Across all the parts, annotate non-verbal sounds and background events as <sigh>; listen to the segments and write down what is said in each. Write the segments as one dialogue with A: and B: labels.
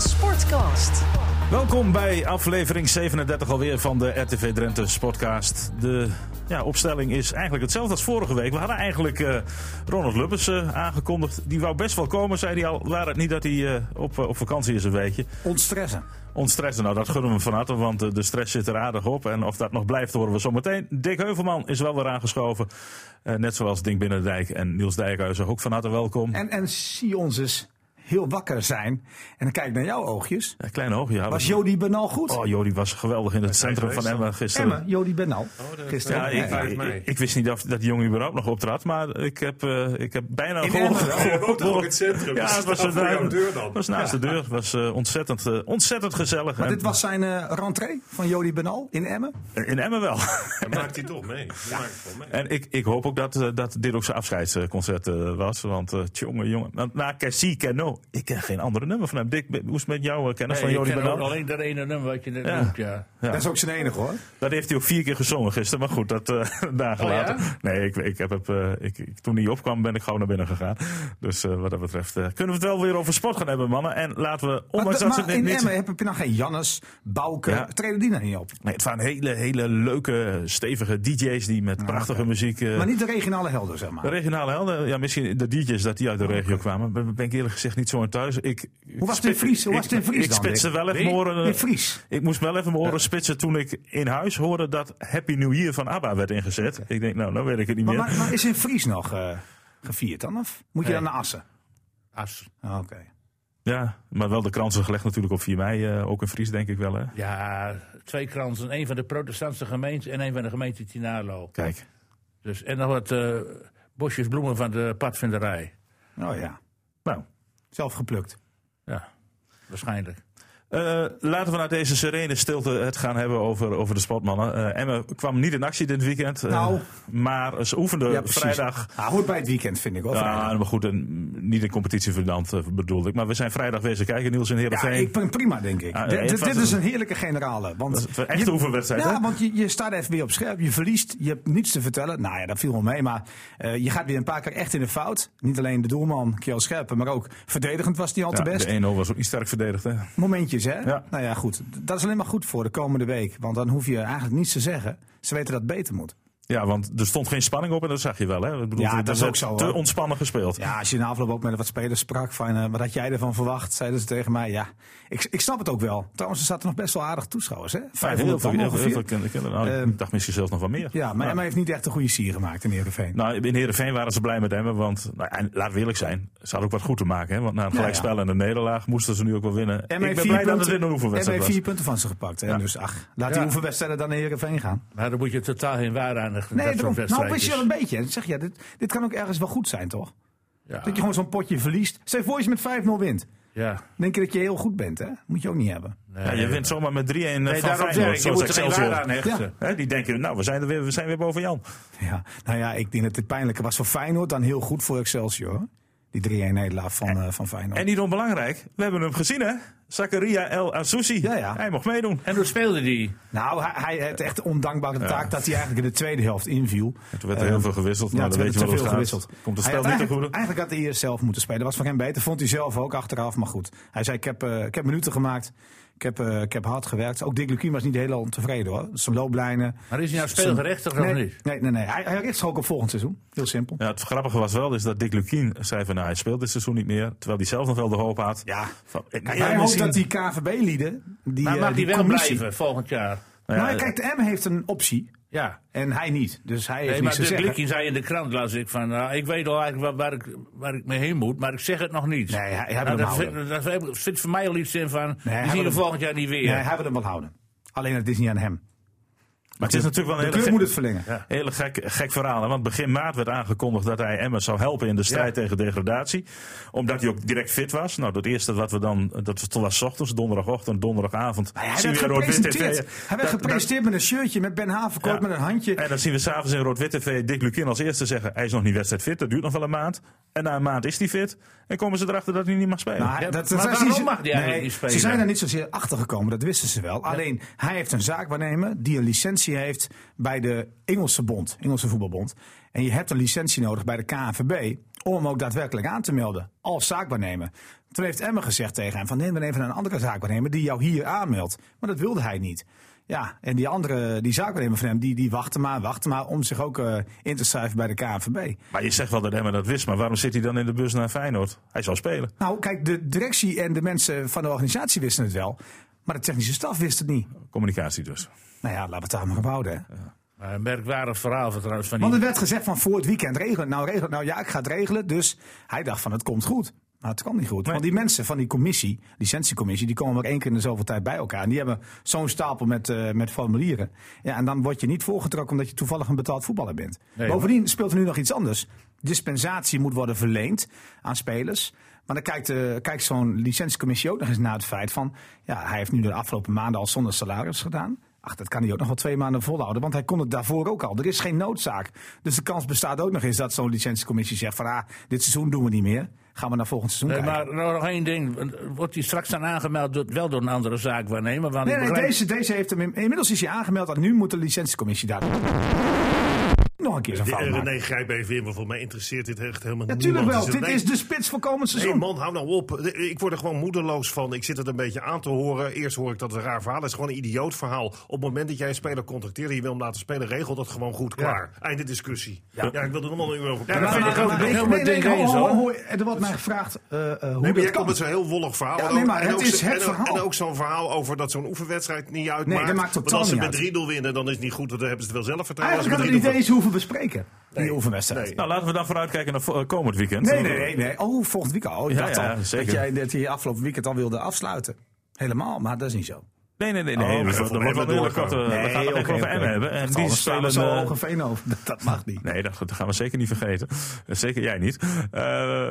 A: Sportcast.
B: Welkom bij aflevering 37 alweer van de RTV Drenthe Sportcast. De ja, opstelling is eigenlijk hetzelfde als vorige week. We hadden eigenlijk eh, Ronald Lubbers eh, aangekondigd. Die wou best wel komen, zei hij al. Waar het niet dat hij eh, op, eh, op vakantie is een weekje.
C: Ontstressen.
B: Ontstressen, nou dat gunnen we hem van harte, want eh, de stress zit er aardig op. En of dat nog blijft, horen we zometeen. Dick Heuvelman is wel weer aangeschoven. Eh, net zoals Dink Binnendijk en Niels Dijkhuizen. Ook van harte welkom.
C: En, en zie ons eens heel wakker zijn. En kijk naar jouw oogjes.
B: Ja, klein oogje. ja,
C: Was
B: dat-
C: Jody Benal goed?
B: Oh, Jody was geweldig in het centrum van Emmen gisteren.
C: Emma, Jody Benal. Gisteren.
B: Oh, Ja,
C: Nee.
B: ik,
D: vijf
B: ik-
D: mei.
B: ik, ik wist niet of dat jongen überhaupt nog optrad, maar ik heb, eh, ik heb bijna
C: In
B: gehoord.
C: Emmen, ja.
D: Je woont toch ook in het centrum?
B: Ja,
D: Dus
B: het was,
D: dat voor
B: eh,
D: jouw deur dan.
B: was naast de deur. was eh, ontzettend, eh, ontzettend gezellig.
C: Maar
B: En-
C: dit was zijn eh rentree van Jody Benal in Emmen.
B: In Emmen wel. <laughs>
D: En maakt hij toch mee? Die maakt het wel mee.
B: en ik, ik hoop ook dat, eh, dat dit ook zijn afscheidsconcert eh, was. Want eh jongen, jongen. Na, na Cassie Cano, ik ken geen andere nummer van hem. Dick, hoe is het met jou eh, kennis
E: Nee,
B: van
E: ik
B: Jody
E: ken ook
B: Benal?
E: alleen dat ene nummer wat je net
B: Ja.
E: noemt, ja.
B: Ja.
C: Dat is ook zijn enige hoor.
B: Dat heeft hij ook vier keer gezongen gisteren, maar goed, dat eh <laughs> dagen
E: Oh, ja?
B: later. Nee, ik, ik heb het, eh, ik, ik- toen hij opkwam ben ik gewoon naar binnen gegaan. Dus eh, wat dat betreft eh, kunnen we het wel weer over sport gaan hebben, mannen. En laten we,
C: Maar,
B: ondanks
C: de-
B: dat ze
C: maar
B: dit
C: in
B: niet...
C: Emmen heb je nog geen Jannes, Bouke.
B: Ja.
C: Treden die nou niet op?
B: Nee, het waren hele, hele leuke, stevige DJ's die met prachtige muziek... eh,
C: Maar niet de regionale helden, zeg maar.
B: de regionale helden, ja, misschien de DJ's dat die uit de regio kwamen. Daar ben ik eerlijk gezegd niet zo aan thuis. Ik,
C: Oh, Hoe was het in Fries? Hoe was het in Fries
B: Ik
C: dan,
B: spitste
C: Dick?
B: wel even
E: Nee?
B: mijn oren, eh,
C: In Fries.
B: Ik moest wel even mijn oren spitsen toen ik in huis hoorde dat Happy New Year van ABBA werd ingezet. Ik denk, nou, nou weet ik het niet
C: Maar,
B: meer.
C: maar, maar is in Fries nog eh, gevierd dan? Of moet je
E: Nee.
C: dan naar Assen?
E: As.
C: Ah, Oké.
B: Ja, maar wel de kransen gelegd natuurlijk op 4 mei, eh, ook in Fries denk ik wel. Hè?
E: Ja, twee kransen. Eén van de protestantse gemeenten en één van de gemeente Tinalo.
B: Kijk,
E: Dus, en nog wat eh, bosjes bloemen van de padvinderij.
C: Oh ja.
B: nou.
C: Zelf geplukt.
E: Ja, waarschijnlijk.
B: eh, laten we naar deze serene stilte het gaan hebben over, over de sportmannen. Eh Emme kwam niet in actie dit weekend, eh,
C: Nou.
B: maar ze oefende
C: precies.
B: vrijdag.
C: Ah, hoort bij het weekend, vind ik wel. vrijdag.
B: Ja, nou, maar goed, een, niet in competitie verdampt eh, bedoelde ik. Maar we zijn vrijdag wezen kijken, Niels in
C: Ja,
B: Heerenveen.
C: ik ben prima, denk ik.
B: Ah,
C: Dit-
B: ja, het
C: dit
B: was
C: dit
B: een-
C: is een heerlijke generale.
B: Dat is
C: Want
B: een echte oefenwedstrijd, hè?
C: Ja, want je, je staat even weer op scherp. Je verliest, je hebt niets te vertellen. Nou ja, dat viel wel mee. Maar eh, je gaat weer een paar keer echt in de fout. Niet alleen de doelman, Kjell Scherpen, maar ook verdedigend was die al te
B: Ja,
C: best.
B: de 1-0 was ook niet sterk verdedigd, hè?
C: Momentjes, hè?
B: Ja.
C: Nou ja, goed. Dat is alleen maar goed voor de komende week. Want dan hoef je eigenlijk niets te zeggen. Ze weten dat het beter moet.
B: Ja, want er stond geen spanning op en dat zag je wel. Hè? Ik bedoel,
C: Ja,
B: er
C: dat is
B: werd
C: ook zo,
B: Te
C: hoor.
B: ontspannen gespeeld.
C: Ja, als je na afloop ook met wat spelers sprak van eh, wat had jij ervan verwacht, zeiden ze tegen mij. Ja, ik, ik snap het ook wel. Trouwens, er zaten nog best wel aardig toeschouwers, hè?
B: Ja, heel veel, heel,
C: ongeveer.
B: heel Nou. veel kinderen. Nou,
C: Ehm,
B: ik dacht misschien zelfs nog wel meer.
C: Ja, maar Emma heeft niet echt een goede sier gemaakt in Heerenveen.
B: Nou, in Heerenveen waren ze blij met Emmen, want nou, en laten we eerlijk zijn, ze hadden ook wat goed te maken. Hè? Want na een
C: Nou Ja,
B: gelijkspel en een nederlaag moesten ze nu ook wel winnen.
C: Emma
B: ik
C: heeft
B: ben
C: vier
B: blij dat het
C: punten-
B: in een oefenwedstrijd
C: Emma
B: was.
C: heeft vier punten van ze gepakt. Hè? Dus ach, laat die
E: Ja.
C: oefenwedstrijden dan naar Heerenveen gaan.
E: Maar daar moet je totaal geen waarde aan hechten.
C: Nee,
E: dat soort
C: daarom. Nou, wist je wel
B: dus-
E: wedstrijdjes.
C: een beetje. En zeg, ja, dit, dit kan ook ergens wel goed zijn, toch?
E: Ja,
C: Dat je gewoon zo'n potje verliest. Stel je voor als je met 5-0 wint.
E: ja.
C: Denk je dat je heel goed bent, hè? Moet je ook niet hebben.
E: Nee,
B: Ja, je wint zomaar met 3-1
E: Nee,
B: van
E: daarom
B: Feyenoord,
E: zeg ik, je
B: zoals
E: moet er geen
B: Excelsior.
E: waarde aan hechten.
B: Hè, die denken, nou, we zijn, er weer, we zijn weer boven Jan.
C: Ja, nou ja, ik denk dat dit pijnlijker was voor Feyenoord dan heel goed voor Excelsior. hoor. Die 3-1 nederlaag van, eh, van Feyenoord.
B: En niet onbelangrijk, we hebben hem gezien, hè? Zakaria El Asoussi.
C: Ja, ja.
B: Hij mocht meedoen.
E: En hoe speelde die?
C: Nou, hij, hij heeft echt de ondankbare taak dat hij eigenlijk in de tweede helft inviel.
B: Toen werd er heel veel gewisseld, maar
C: toen
B: dan
C: werd
B: weet
C: er
B: je
C: te
B: wel
C: veel
B: hoe het gaat. Komt het
C: Hij
B: spel
C: had
B: niet ten
C: eigenlijk-
B: goede?
C: Eigenlijk had hij eerst zelf moeten spelen. Dat was voor hem beter. Vond hij zelf ook achteraf. Maar goed, hij zei: Ik heb, eh, ik heb minuten gemaakt. Ik heb, eh, ik heb hard gewerkt. Ook Dick Lukien was niet helemaal ontevreden hoor. Zijn looplijnen.
E: Maar is hij nou
C: zijn-
E: speelgerechtig of
C: nee,
E: niet?
C: nee, nee, nee. Hij, hij richt zich ook op volgend seizoen. Heel simpel.
B: Ja, het grappige was wel dus dat Dick Lukien zei van nou, hij speelt dit seizoen niet meer. Terwijl hij zelf nog wel de hoop had.
C: Ja.
B: Van, eh,
C: Kijk,
B: ja,
C: hij hoopt
B: misschien-
C: dat die KVB-lieden. Die,
E: Maar
C: eh,
E: mag die wel
C: commissie-
E: blijven volgend jaar?
B: Nou ja,
C: Nou, kijk, de M heeft een optie.
E: Ja.
C: En hij niet. Dus hij heeft
E: Nee,
C: niks
E: maar
C: te
E: de
C: zeggen.
E: blikje zei in de krant, las ik van, nou, ik weet al eigenlijk waar, waar, ik, waar ik mee heen moet, maar ik zeg het nog niet.
C: Nee, hij- hij wil
E: nou,
C: hem
E: dat,
C: houden.
E: vind- dat vind- zit voor mij al iets in van,
C: hij
E: die
C: wil
E: zien we
C: hem-
E: volgend jaar niet weer.
C: Nee, hij wil hem wel houden. Alleen het is niet aan hem.
B: Maar het is natuurlijk wel
C: De
B: een hele,
C: club
B: gek,
C: moet het verlengen.
B: hele gek, gek verhaal. hè. Want begin maart werd aangekondigd dat hij Emmen zou helpen in de strijd tegen degradatie. Omdat hij ook direct fit was. Nou, dat eerste wat we dan, dat was 's ochtends, donderdagochtend, donderdagavond.
C: Maar hij
B: zien
C: werd
B: we in Rood-Wit
C: gepresenteerd.
B: TV.
C: Hij werd
B: Dat-
C: gepresenteerd met een shirtje met Ben Haverkort
B: Ja.
C: met een handje.
B: En dan zien we s'avonds in Rood-Wit TV Dick Lukien als eerste zeggen... hij is nog niet wedstrijd fit, dat duurt nog wel een maand. En na een maand is hij fit. En komen ze erachter dat hij niet mag spelen.
C: Maar,
E: Ja,
C: dat,
E: maar
C: dat
E: waarom
C: ze-
E: mag die eigenlijk niet spelen?
C: Ze zijn daar niet zozeer achter gekomen, dat wisten ze wel. Alleen hij heeft een zaakwaarnemer die een licentie heeft bij de Engelse Bond, Engelse Voetbalbond. En je hebt een licentie nodig bij de KNVB om hem ook daadwerkelijk aan te melden als zaakwaarnemer. Toen heeft Emma gezegd tegen hem van neem dan even een andere zaakwaarnemer die jou hier aanmeldt. Maar dat wilde hij niet. Ja, en die andere, die zaakwaarnemer van hem, die, die wachtte maar, wachtte maar om zich ook eh, in te schrijven bij de KNVB.
B: Maar je zegt wel dat Emma dat wist, maar waarom zit hij dan in de bus naar Feyenoord? Hij zal spelen.
C: Nou, kijk, de directie en de mensen van de organisatie wisten het wel, maar de technische staf wist het niet.
B: Communicatie dus.
C: Nou ja, laten we het daar maar op houden. Hè.
E: Maar Een merkwaardig verhaal trouwens van die...
C: Want er werd gezegd van voor het weekend regelen. Nou, regelen. nou ja, ik ga het regelen. Dus hij dacht van het komt goed. Maar het kwam niet goed. Want die mensen van die commissie, licentiecommissie, die komen maar één keer in de zoveel tijd bij elkaar. En die hebben zo'n stapel met, eh, met formulieren. Ja, en dan word je niet voorgetrokken omdat je toevallig een betaald voetballer bent.
E: Nee,
C: Bovendien speelt er nu nog iets anders. Dispensatie moet worden verleend aan spelers. Maar dan kijkt, eh, kijkt zo'n licentiecommissie ook nog eens naar het feit van... ja, hij heeft nu de afgelopen maanden al zonder salaris gedaan. Ach, dat kan hij ook nog wel twee maanden volhouden. Want hij kon het daarvoor ook al. Er is geen noodzaak. Dus de kans bestaat ook nog eens dat zo'n licentiecommissie zegt van... ah, dit seizoen doen we niet meer. Gaan we naar volgend seizoen
E: Nee,
C: kijken.
E: Eh, maar nog nog één ding. eh, Wordt hij straks dan aangemeld door- wel door een andere zaakwaarnemer? Want
C: Nee,
E: ik
C: nee,
E: begrijp-
C: deze, deze heeft hem... in- Inmiddels is hij aangemeld dat nu moet de licentiecommissie daar... Nog een keer zo'n fout maken.
D: René, grijp even in, want voor mij interesseert dit echt helemaal niet.
C: Natuurlijk wel. Dit is dus de spits voor komend
D: Nee,
C: seizoen.
D: man, hou nou op. Ik word er gewoon moedeloos van. Ik zit het een beetje aan te horen. Eerst hoor ik dat het een raar verhaal is. Het is gewoon een idioot verhaal. Op het moment dat jij een speler contracteert en je wil hem laten spelen, regel dat gewoon goed. Klaar. Einde discussie. Ja, ik wil er nog wel een uur over praten.
E: dat vind ik ook
C: Maar
E: niet
C: ik-
E: helemaal
C: nee, nee,
E: tegen
C: ho-
E: eens,
C: ho-
E: hoor.
C: ho- Er wordt mij gevraagd eh, eh, hoe
D: Nee, maar
C: dat
D: jij komt
C: kan.
D: met zo'n heel wollig verhaal.
C: Ja,
D: En
C: nee,
D: ook-
C: maar
D: en
C: het
D: ook
C: is
D: zo-
C: het
D: en ook-
C: verhaal.
D: En ook zo'n verhaal over dat zo'n oefenwedstrijd niet uitmaakt.
C: dat maakt
D: Want
C: totaal
D: als ze
C: niet
D: met
C: uit.
D: 3-0 winnen, dan is het niet goed. want Dan hebben ze het wel zelf verteld.
C: Eigenlijk
D: Als
C: hadden
D: ze
C: we
D: met
C: niet eens hoeven bespreken. Die oefenwedstrijd.
D: Nee.
B: Nou, laten we dan vooruitkijken naar vo- eh, komend weekend.
C: Nee, nee, nee, nee. Oh, volgend weekend. Oh, ik
B: Ja,
C: dacht
B: ja,
C: al
B: zeker.
C: dat jij dat je afgelopen weekend al wilde afsluiten. Helemaal, maar dat is niet
B: Oh,
C: zo.
B: Nee, nee, nee. nee.
D: Oh, oké,
B: dat
D: voor
B: wordt
D: mij
B: wel
D: wel
B: een hele
D: doorgaan.
B: korte. we gaan het even over Emmen hebben. En die spelen...
C: zo
B: eh,
C: hoog veen over. Dat, <laughs> dat mag niet.
B: Nee, dat, dat gaan we zeker niet vergeten. Eh, Zeker jij niet. Eh,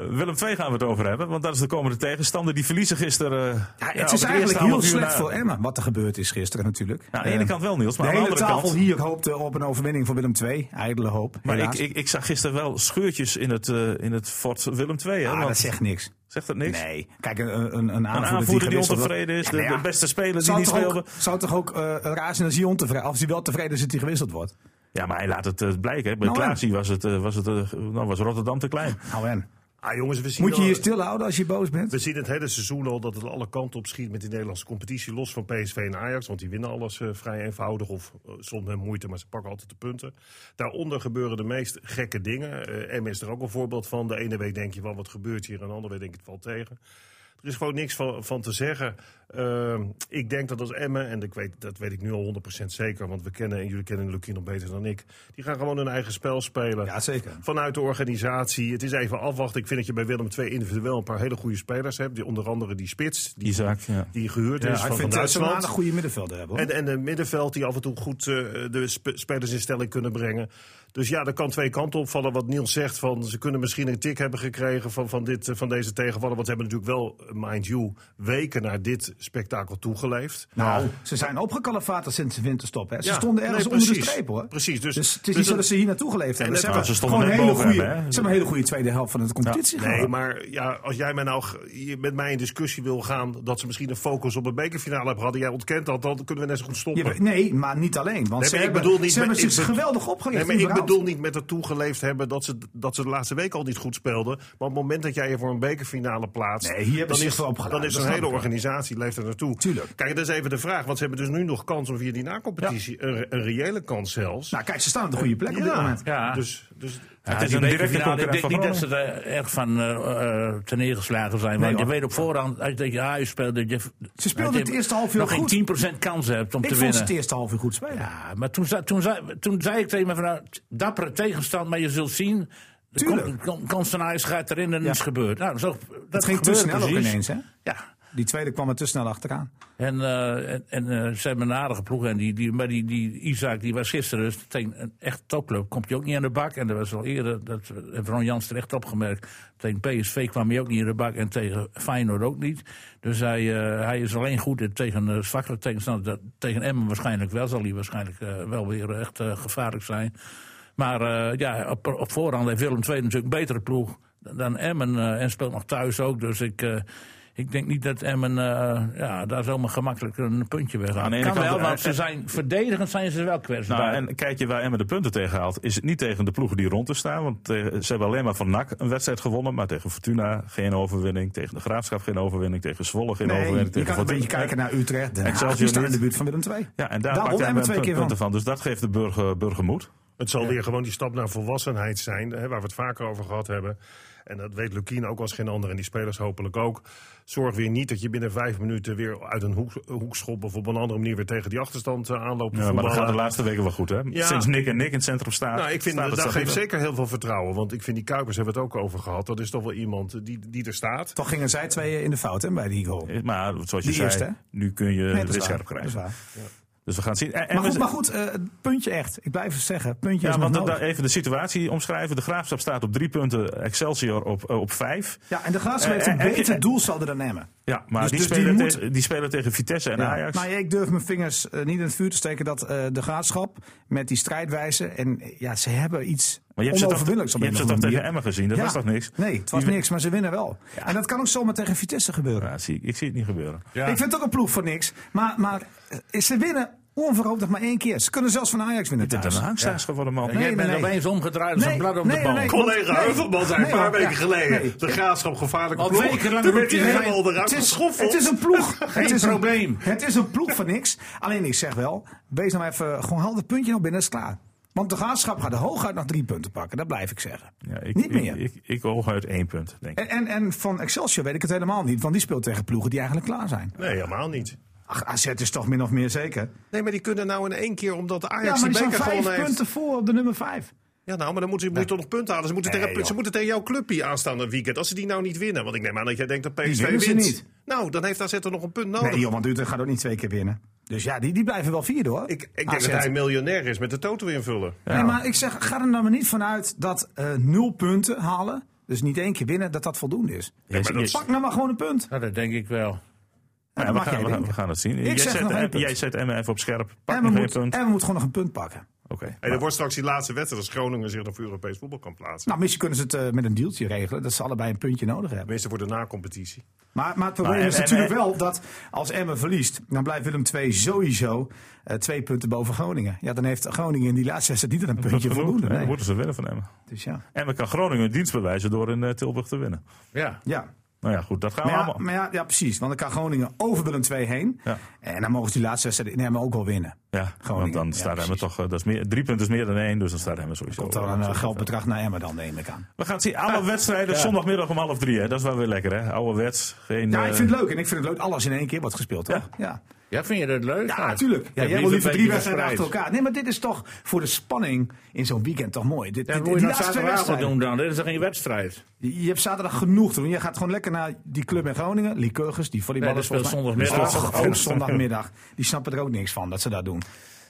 B: Willem II gaan we het over hebben, want dat is de komende tegenstander. Die verliezen gisteren. eh,
C: Ja,
B: op
C: het is
B: eerste
C: eigenlijk heel
B: half uur
C: slecht
B: na-
C: voor Emma wat er gebeurd is gisteren natuurlijk.
B: Ja, aan de ene
C: Eh,
B: kant wel, Niels, maar
C: de
B: aan de
C: hele
B: andere
C: tafel
B: kant...
C: hier hoopte op een overwinning voor Willem II. Ijdele hoop.
B: Maar ik,
C: helaas.
B: ik, ik zag gisteren wel scheurtjes in het, eh, in het fort Willem II. Hè,
C: ah,
B: want-
C: dat zegt niks.
B: zegt dat niks?
C: Nee. Kijk, een, een, een,
B: Een
C: aanvoerder,
B: aanvoerder die
C: gewisseld wordt-
B: ontevreden is,
C: Ja,
B: de,
C: nou ja.
B: de beste speler die
C: Zou
B: niet
C: toch,
B: speelde.
C: ook, zou toch ook eh, raar zijn als hij ontevreden, als hij wel tevreden is dat hij gewisseld wordt?
B: Ja, maar hij laat het eh, blijken. hè. Bij
C: Nou, en?
B: Klaasie was, het, eh, was, het, eh, nou, was Rotterdam te klein.
C: Nou en.
D: Ah, jongens, we zien
C: Moet je
D: al-
C: hier stilhouden als je boos bent?
D: We zien het hele seizoen al dat het alle kanten op schiet met die Nederlandse competitie. Los van PSV en Ajax, want die winnen alles eh, vrij eenvoudig. Of eh, soms met moeite, maar ze pakken altijd de punten. Daaronder gebeuren de meest gekke dingen. Eh M is er ook een voorbeeld van. De ene week denk je wel wat gebeurt hier, en de andere week denk je het valt tegen. Er is gewoon niks van, van te zeggen. Ehm, ik denk dat als Emmen, en ik weet, dat weet ik nu al 100% zeker, want we kennen en jullie kennen Lukien nog beter dan ik. Die gaan gewoon hun eigen spel spelen
C: Ja, zeker.
D: vanuit de organisatie. Het is even afwachten. Ik vind dat je bij Willem II individueel een paar hele goede spelers hebt. Die, onder andere die spits, die,
B: Isaac, ja.
D: die gehuurd is van, van
C: dat ze wel Dus een
D: Duitsland.
C: aardig goede middenvelder hebben. Hoor.
D: En, en een middenveld die af en toe goed eh, de sp- spelers in stelling kunnen brengen. Dus ja, er kan twee kanten opvallen. Wat Niels zegt, van, ze kunnen misschien een tik hebben gekregen van, van, dit, eh, van deze tegenvaller. Want ze hebben natuurlijk wel, eh, mind you, weken naar dit spektakel toegeleefd.
C: nou, ze zijn opgekalefaterd sinds de winterstop. Hè. Ze
D: Ja,
C: stonden ergens
D: nee,
C: onder de
D: precies.
C: streep hoor.
D: Precies, dus-
C: het is niet
D: dus
C: zo
D: dat-
C: dat ze hier naartoe geleefd hebben. Ze
D: net
C: hebben
B: waar, ze stonden
C: gewoon een
B: net
C: hele
B: boven
C: goede,
B: hem, hè.
C: ze hebben een hele goede tweede helft van de competitie
D: Nee,
C: gehad.
D: maar ja, als jij mij nou, g- je- met mij in discussie wil gaan dat ze misschien een focus op een bekerfinale hebben gehad en jij ontkent dat, dan kunnen we net zo goed
C: Je
D: stoppen.
C: weet- nee, maar niet alleen. Want
D: Nee,
C: ze
D: maar ik
C: hebben,
D: bedoel niet
C: ze hebben
D: met- ik
C: zich
D: bedoel-
C: geweldig opgericht.
D: Nee, maar ik
C: überhaupt.
D: bedoel niet met het toegeleefd hebben dat ze, dat ze de laatste week al niet goed speelden. Maar op het moment dat jij je voor een bekerfinale plaatst,
C: Nee, hier hebben
D: dan,
C: ze
D: is,
C: zich voor opgeladen.
D: dan is
C: Dat
D: een
C: snap
D: hele
C: ik wel.
D: organisatie leeft er naartoe.
C: Tuurlijk.
D: Kijk, dat is even de vraag. Want ze hebben dus nu nog kans om via die nacompetitie, een, een reële kans zelfs.
C: Nou kijk, ze staan op de goede plek op dit moment.
E: Ja.
D: Dus, dus
E: Ja,
B: Het is
E: die
B: een directe
E: bekerfinale, Ik
B: concurrent
E: denk
B: van
E: niet dat ze er echt van eh eh teneergeslagen zijn. Want
C: hoor.
E: je weet op voorhand, als je tegen AU speelt... Dat je,
C: Ze speelden
E: dat je
C: het eerste half uur
E: nog
C: goed.
E: geen 10% kans hebt om
C: Ik vond
E: te
C: ze
E: winnen.
C: het eerste half uur goed spelen.
E: Ja, maar toen, za- toen, zei, toen zei ik tegen me van, nou, dappere tegenstand, maar je zult zien... De
C: Tuurlijk.
E: kom- kom- kans van Ajax gaat erin en niets gebeurt. Nou, zo, dat
C: Het ging te
E: gebeurt
C: snel ook
E: precies.
C: ineens. Hè?
E: Ja,
C: Die tweede kwam er te snel achteraan.
E: en, eh, en, en eh, ze hebben een aardige ploeg. En die, die, maar die, die Isaac, die was gisteren dus tegen een echt topclub. Komt hij ook niet aan de bak. En dat was al eerder, dat heeft Ron Jans terecht opgemerkt. Tegen PSV kwam hij ook niet aan de bak. En tegen Feyenoord ook niet. Dus hij, eh, hij is alleen goed in- tegen eh, zwakkere tegenstander. Dat, tegen Emmen waarschijnlijk wel. Zal hij waarschijnlijk eh, wel weer echt eh, gevaarlijk zijn. Maar eh, ja, op, op voorhand heeft Willem II natuurlijk een betere ploeg dan Emmen. eh, en speelt nog thuis ook. Dus ik... eh, Ik denk niet dat Emmen eh, ja, daar zomaar gemakkelijk een puntje
B: Aan
E: weghaalt.
B: de ene
E: kan
B: kant-
E: wel,
B: en-
E: want ze zijn, verdedigend zijn ze wel kwetsbaar.
B: Nou, en kijk je waar Emmen de punten tegen haalt, is het niet tegen de ploegen die rond te staan. Want eh, ze hebben alleen maar van NAC een wedstrijd gewonnen. Maar tegen Fortuna geen overwinning. Tegen de Graafschap geen overwinning. Tegen Zwolle geen
C: Nee,
B: overwinning.
C: je
B: tegen
C: kan een beetje
B: Fortuna-
C: kijken naar Utrecht. Den
B: Excelsior
C: Haag, die staan in
B: niet.
C: de buurt van Willem II.
B: Ja, en daar,
C: Daar
B: pakt
C: wonnen
B: Emmen
C: Emmen twee
B: punten
C: keer
B: van. Dus dat geeft de burger, burger moed.
D: Het zal weer gewoon die stap naar volwassenheid zijn, hè, waar we het vaker over gehad hebben. En dat weet Lukien ook als geen ander en die spelers hopelijk ook. Zorg weer niet dat je binnen vijf minuten weer uit een hoek, hoekschop of op een andere manier weer tegen die achterstand eh, aanloopt. te
B: Ja, maar dat gaat de
D: voetballen.
B: laatste weken wel goed, hè?
D: Ja.
B: Sinds Nick en Nick in het centrum staan.
D: Nou, ik
B: staat
D: vind dat,
B: het
D: dat
B: stabiel.
D: geeft zeker heel veel vertrouwen. Want ik vind die Kuipers hebben we het ook over gehad. Dat is toch wel iemand eh, die, die er staat.
C: Toch gingen zij twee in de fout hè, bij die goal. Nee,
B: Maar zoals je
C: Die
B: zei,
C: eerste, hè?
B: nu kun je
C: dat
B: het weer
C: is waar.
B: scherp
C: Dat is
B: krijgen.
C: waar.
B: Dus we gaan het zien. En- en
C: Maar
B: we-
C: goed, maar goed eh, het puntje echt. Ik blijf het zeggen. het
B: Ja,
C: Puntje is nog
B: want dat- eh,
C: nodig.
B: even de situatie omschrijven. De Graafschap staat op drie punten, Excelsior op, eh, op vijf.
C: Ja, en de Graafschap heeft een
B: Eh, eh,
C: beter
B: eh,
C: doelsaldo dan Emmen.
B: Ja, maar
C: Dus-
B: die,
C: dus die
B: spelen
C: moet-
B: tegen- die spelen tegen Vitesse en
C: Ja.
B: Ajax.
C: Maar ik durf mijn vingers eh, niet in het vuur te steken dat eh, de Graafschap met die strijdwijze... en eh, ja, ze hebben iets
B: maar je hebt ze toch, je
C: onoverwinnelijks. op een
B: hebt ze
C: of
B: toch
C: andere
B: tegen
C: manier.
B: Emmen gezien? Dat was toch niks?
C: Nee, het was
B: Die-
C: niks, maar ze winnen wel. En dat kan ook zomaar tegen Vitesse gebeuren.
B: Ja, zie, ik- ik zie het niet gebeuren.
E: Ja.
C: Ik vind het ook een ploeg voor niks. Maar, maar eh, ze winnen onverhoopt nog maar één keer. Ze kunnen zelfs van Ajax winnen
B: Dit is
C: thuis.
B: een hangstaars geworden, man.
E: Jij
C: nee,
E: bent
C: nee.
E: opeens omgedraaid als een blad op de bal.
D: Collega
C: Nee.
D: Heuvelman zei
C: Nee,
D: een paar
C: hoor.
D: weken
C: Ja.
D: geleden.
C: Nee.
D: De graafschap gevaarlijke
E: Al
D: ploeg.
E: weken lang
D: Toen werd
E: roept
D: hij
E: hij
D: helemaal eruit
C: Het is,
D: geschoffeld.
C: het is een ploeg.
D: <laughs>
C: het is
E: probleem.
C: Een, het is een ploeg van niks. Alleen ik zeg wel, wees nou even, gewoon haal dat puntje nog binnen, is klaar. Want de graafschap gaat er hooguit nog drie punten pakken, dat blijf ik zeggen.
B: Ja, ik,
C: niet meer. Eh,
B: Ik, ik, ik hooguit één punt, denk ik.
C: en, en, en van Excelsior weet ik het helemaal niet, want die speelt tegen ploegen die eigenlijk klaar zijn.
D: Nee, helemaal niet.
C: Ach, AZ is toch min of meer zeker.
D: Nee, maar die kunnen nou in één keer, omdat de
C: Ja,
D: Ajax
C: maar die
D: die
C: zijn
D: beker
C: vijf
D: gewonnen heeft.
C: punten voor op de nummer vijf.
D: Ja, nou, maar dan moeten ze moet je toch nog punten halen. Ze moeten,
C: Nee,
D: tegen,
C: joh.
D: ze moeten tegen jouw clubje aanstaan een weekend. Als ze die nou niet winnen. Want ik neem aan dat jij denkt dat
C: Die
D: PSV
C: winnen
D: wint.
C: ze niet.
D: Nou, dan heeft AZ er nog een punt nodig.
C: Nee joh, want Utrecht gaat ook niet twee keer winnen. Dus ja, die, die blijven wel vier hoor.
D: ik, ik denk
C: AZ.
D: dat hij miljonair is met de toto invullen.
C: Nee, maar ik zeg, ga er nou maar niet vanuit dat eh, nul punten halen, dus niet één keer winnen, dat dat voldoende is.
B: Ja,
D: maar
B: je-
D: dat-
C: Pak nou maar gewoon een punt.
E: Ja, dat denk ik wel.
B: Nou ja,
C: dat
B: we,
C: mag
B: gaan,
C: jij
B: we, gaan, we
C: denken.
B: gaan het zien.
C: Ik
B: jij,
C: zeg nog één
B: zet,
C: punt.
B: jij zet Emmen even op scherp. Pak
C: En
B: nog
C: we,
B: één
C: moet,
B: punt.
C: en we moeten gewoon nog een punt pakken.
B: Oké.
D: En er wordt straks die laatste wedstrijd als Groningen zich nog voor Europees voetbal kan plaatsen.
C: Nou, misschien kunnen ze het eh, met een dealtje regelen. Dat ze allebei een puntje nodig hebben.
D: Tenminste voor de na-competitie.
C: Maar, maar het probleem
B: Maar
C: is
B: en-
C: natuurlijk
B: en-
C: wel dat als Emmen verliest, dan blijft Willem II sowieso eh, twee punten boven Groningen. Ja, dan heeft Groningen in die laatste wedstrijd niet aan een puntje
B: Genoeg,
C: voldoende.
B: hè? Dan
C: Nee.
B: moeten ze winnen van Emmen.
C: Dus ja.
B: Emmen kan Groningen een dienst bewijzen door in eh, Tilburg te winnen.
E: Ja.
C: Ja.
B: Nou ja, goed, dat gaan
C: Maar,
B: we
C: ja,
B: allemaal.
C: maar ja, ja, precies. Want dan kan Groningen over Willem II heen.
B: Ja.
C: En dan mogen ze die laatste wedstrijd in Emmen ook wel winnen.
B: Ja, want
C: Groningen.
B: dan
C: Ja,
B: staat Emmen
C: precies.
B: toch... eh, dat is meer, drie punten is meer dan één, dus dan staat Emmen sowieso...
C: Komt dan
B: eh,
C: een eh,
B: sowieso
C: geldbedrag naar Emmen dan, neem ik aan.
B: We gaan het zien. Alle wedstrijden zondagmiddag om half drie. Hè? Dat is wel weer lekker, hè? Ouderwets. Geen,
C: Ja,
B: eh,
C: ik vind het leuk. En ik vind het leuk alles in één keer wordt gespeeld, toch?
B: Ja.
C: ja.
E: Ja, vind je dat leuk?
C: Ja, natuurlijk. Ja, jij wil liever drie wedstrijden achter elkaar. Nee, maar dit is toch voor de spanning in zo'n weekend toch mooi. Dit,
E: Dat
C: dit-
E: moet je
C: die
E: dan
C: laatste twee
E: zaterdagavond
C: wedstrijden.
E: doen dan. Dat is toch geen wedstrijd?
C: Je hebt zaterdag genoeg te doen. Je gaat gewoon lekker naar die club in Groningen. Lycurgus, die
E: Nee,
C: volleyballers.
E: dat speelt
C: volgens mij.
E: zondagmiddag.
C: Och, ook zondagmiddag. Die snappen er ook niks van dat ze dat doen.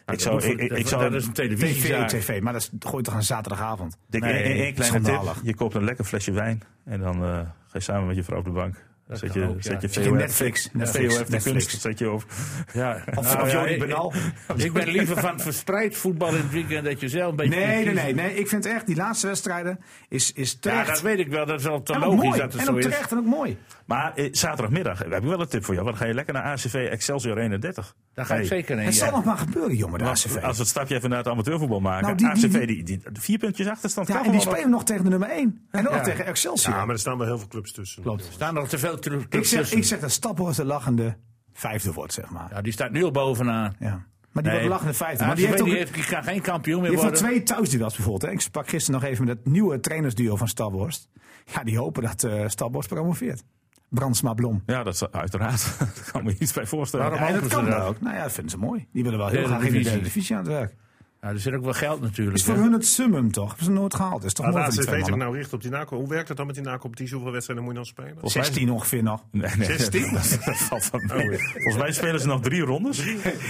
B: ik zou, ik, ik- ik zou
E: dat is een
C: TV,
E: televisiezaak.
C: TV. Maar dat is, gooi toch aan zaterdagavond.
B: Dick, eh,
E: Nee,
B: één- één- één kleine
C: schandalig.
B: tip. Je koopt een lekker flesje wijn en dan eh, ga je samen met je vrouw op de bank. Zet je,
E: kan ook,
B: zet
E: ja.
B: je
C: Zet je
B: VOF
C: Netflix, Netflix,
B: VOF de
C: Netflix.
B: kunst, zet je op.
E: Ja.
C: Of-
E: Nou
C: of
E: ja,
C: Jordi
E: ik-
C: Bernal.
E: Ik ben liever van verspreid voetbal in het weekend dat je zelf een beetje.
C: Nee, nee,
E: kunt
C: nee,
E: kiezen.
C: nee. Ik vind echt, die laatste wedstrijden is, is
E: Ja,
C: terecht.
E: dat weet ik wel. Dat is al te
C: en ook
E: logisch
C: mooi.
E: dat het
C: En
E: zo
C: ook
E: is.
C: terecht en ook mooi.
B: Maar eh, zaterdagmiddag, we hebben wel een tip voor jou. Want dan ga je lekker naar ACV Excelsior 31.
E: Daar ga ik
B: Hey,
E: zeker heen.
C: Het
E: ja.
C: zal nog maar gebeuren, jongen, de
B: want
C: ACV.
B: Als we het stapje even naar het amateurvoetbal maken.
C: Nou, die- die-
B: ACV, die, die, vier puntjes achterstand.
C: Ja,
B: kan
C: en die
B: wel wat.
C: spelen nog tegen de nummer 1. En ook nog tegen
D: Ja,
C: Excelsior.
D: maar er staan wel heel veel clubs tussen.
C: Klopt.
E: Er staan nog te veel terug.
C: Ik zeg, ik zeg dat Staphorst de lachende vijfde wordt, zeg maar.
E: Ja, die staat nu al bovenaan.
C: Ja. Maar die wordt de lachende vijfde. Maar
E: ACV
C: die heeft ook
E: die heeft- die kan geen kampioen meer
C: die heeft al
E: worden.
C: twee thuisduels bijvoorbeeld. Hè. Ik sprak gisteren nog even met het nieuwe trainersduo van Staphorst. Ja, die hopen dat eh Staphorst promoveert. Brandsma Blom.
B: Ja, dat is uiteraard. <laughs> Daar kan me iets bij voorstellen.
E: Waarom
C: Ja, en dat
E: hopen ze
C: kan
E: dat?
C: daar ook. Nou ja, dat vinden ze mooi. Die willen wel heel
E: Derde
C: graag in de
E: divisie.
C: derde divisie aan het werk.
E: Ja, er zit ook wel geld natuurlijk.
C: is voor
E: hè.
C: hun het summum toch? Hebben ze nooit gehaald. Dat is toch
D: Laat
C: mooi voor die
D: ACV
C: twee
D: zich
C: mannen.
D: nou richten op die na Hoe werkt dat dan met die na-competitie? Hoeveel wedstrijden moet je dan spelen?
B: Volgens mij-
C: 16 ongeveer nog.
B: Nee, nee,
D: 16?
B: Dat, dat valt van
E: Oh,
B: mee. Volgens mij spelen ze nog drie rondes.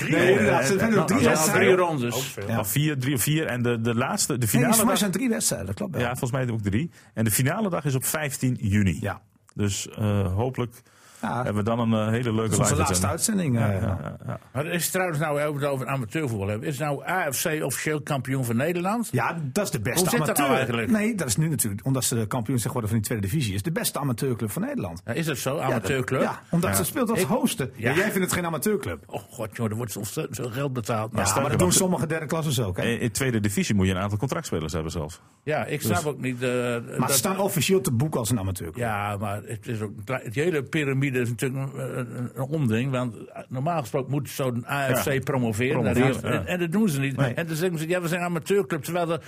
C: Nee, inderdaad. Ze zijn nog drie
E: Ja, nou, drie
C: wedstrijden. Oh,
D: Ook
E: rondes.
D: veel.
C: Ja.
B: Of vier, drie of vier. En de, de laatste, de
C: Nee,
B: finale.
C: volgens mij
B: dag-
C: zijn drie wedstrijden. Dat klopt wel.
B: ja, volgens mij ook drie. En de finale dag is op 15 juni.
C: Ja.
B: Dus eh, hopelijk
C: Ja.
B: Hebben we dan een eh, hele leuke
C: Dat is onze
B: live
C: laatste
B: uitzending.
C: uitzending.
B: Ja,
C: eh, ja.
B: ja, ja.
E: Maar is het trouwens nou, we het over amateurvoetbal hebben. Is nou AFC officieel kampioen van Nederland?
C: dat is de beste
E: Hoe zit dat
C: amateur.
E: nou eigenlijk?
C: Nee, dat is nu natuurlijk, omdat ze de kampioen zijn geworden van die tweede divisie, is de beste amateurclub van Nederland.
E: Ja, is dat zo, amateurclub?
C: Ja, omdat ze speelt als hosten.
E: Ja.
C: Ja. Jij vindt het geen amateurclub.
E: Oh god, joh, er wordt ontzettend veel geld betaald.
C: Ja,
E: Maar
C: maar
B: sterker
C: dat doen
B: nog- Eh,
C: sommige derde klassers ook. Hè?
B: In, in tweede divisie moet je een aantal contractspelers hebben zelf.
E: ja, ik snap ook niet... eh,
C: Dus- maar
E: dat-
C: ze staan officieel te boek als een amateurclub.
E: Ja, maar het is ook, het hele piramide is natuurlijk een, een, een omding. Want normaal gesproken moet zo'n AFC
B: Ja,
E: promoveren. naar de
B: promoveren,
E: eerste-
B: ja.
E: en, en dat doen ze niet.
C: Nee.
E: En dan zeggen ze, ja, we zijn een amateurclub. Terwijl er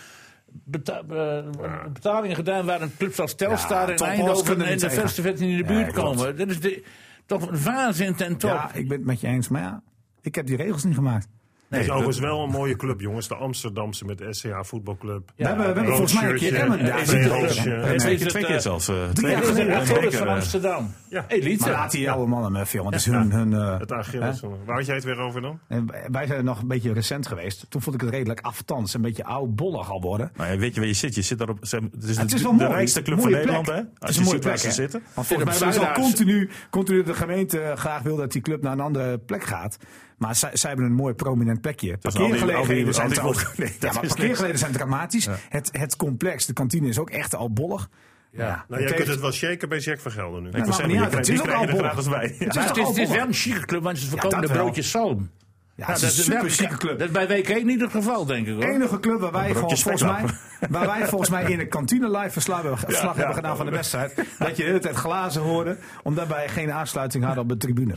E: beta- eh, betalingen gedaan waren. Clubs als Telstar
C: Ja,
E: en
C: Top Os
E: Eindhoven
C: kunnen
E: en
C: niet
E: de
C: tegen.
E: verste vet in
C: Nee,
E: de buurt
C: klopt.
E: komen. Dat is de, toch een waanzin ten top.
C: Ja, ik ben het met je eens, maar ja, ik heb die regels niet gemaakt.
D: Het is
B: dat-
D: overigens wel een mooie club, jongens. De Amsterdamse met SCH Voetbalclub.
C: we hebben, we hebben
D: rood
C: volgens mij een keer
D: shirtje,
C: Emmen
D: eh,
C: daar.
D: twee
C: zitten.
D: rood shirtjes.
C: Ja,
B: Twee
C: nee.
E: is
B: keer,
E: het,
B: twee keer
E: eh,
B: zelfs. eh,
E: Ja,
B: twee
E: dat is
B: keer.
E: de
B: eh,
E: Achilles
B: beker,
E: van
B: eh.
E: Amsterdam.
D: Ja.
E: Elite.
C: Maar laat die oude mannen maar veel, want het is hun... hun eh,
D: Het Achilles. Waar had jij het weer over dan?
C: En wij zijn nog een beetje recent geweest. Toen vond ik het redelijk aftans, een beetje oudbollig al worden.
B: Nou ja, weet je waar je zit? Je zit daar op, ze hebben- het is,
C: Het
B: de,
C: is wel
B: de
C: mooi.
B: rijkste club
C: Mooie
B: van
C: plek.
B: Nederland, hè?
C: Het is
B: Als
C: een
B: je
C: mooie
B: ziet waar
C: plek,
B: ze
C: hè?
B: zitten.
C: Want volgens mij
E: Philips
C: is al
E: Zuidaars.
C: continu, continu de gemeente eh, graag wil dat die club naar een andere plek gaat. Maar zij, zij hebben een mooi prominent plekje.
B: Dus al die- al die-
C: Parkeergelegenheden zijn
B: al die-
C: trouwens-
B: nee,
C: Ja,
B: <laughs> dat
C: maar
B: is niks.
C: parkeergelegenheden zijn dramatisch. Het, het complex, de kantine is ook echt albollig.
E: Ja.
D: Nou, jij kunt het wel shaken bij Jack van Gelder nu.
B: Ik
C: maakt
B: wil
C: me
B: zeggen,
C: niet
B: die
C: uit, het
B: krijgen-
C: is ook
B: die krijgen
C: al
B: er gratis bij.
C: Het
E: Maar
C: is
E: het,
C: toch
E: is, het is wel
C: albollig?
E: een chique club, want ze verkopen
C: dat
E: de
C: wel.
E: broodjes zalm.
C: Ja,
E: Nou,
C: het is een
E: wel-
C: super chique club.
E: Dat is bij WK in ieder geval, denk ik hoor.
C: De enige club waar wij, gewoon,
B: broodjes
C: volgens mij,
B: vetlap.
C: waar wij volgens mij in de kantine live verslag hebben, verslag hebben gedaan van de wedstrijd. Dat je de hele tijd glazen hoorde, omdat wij geen aansluiting hadden op de tribune.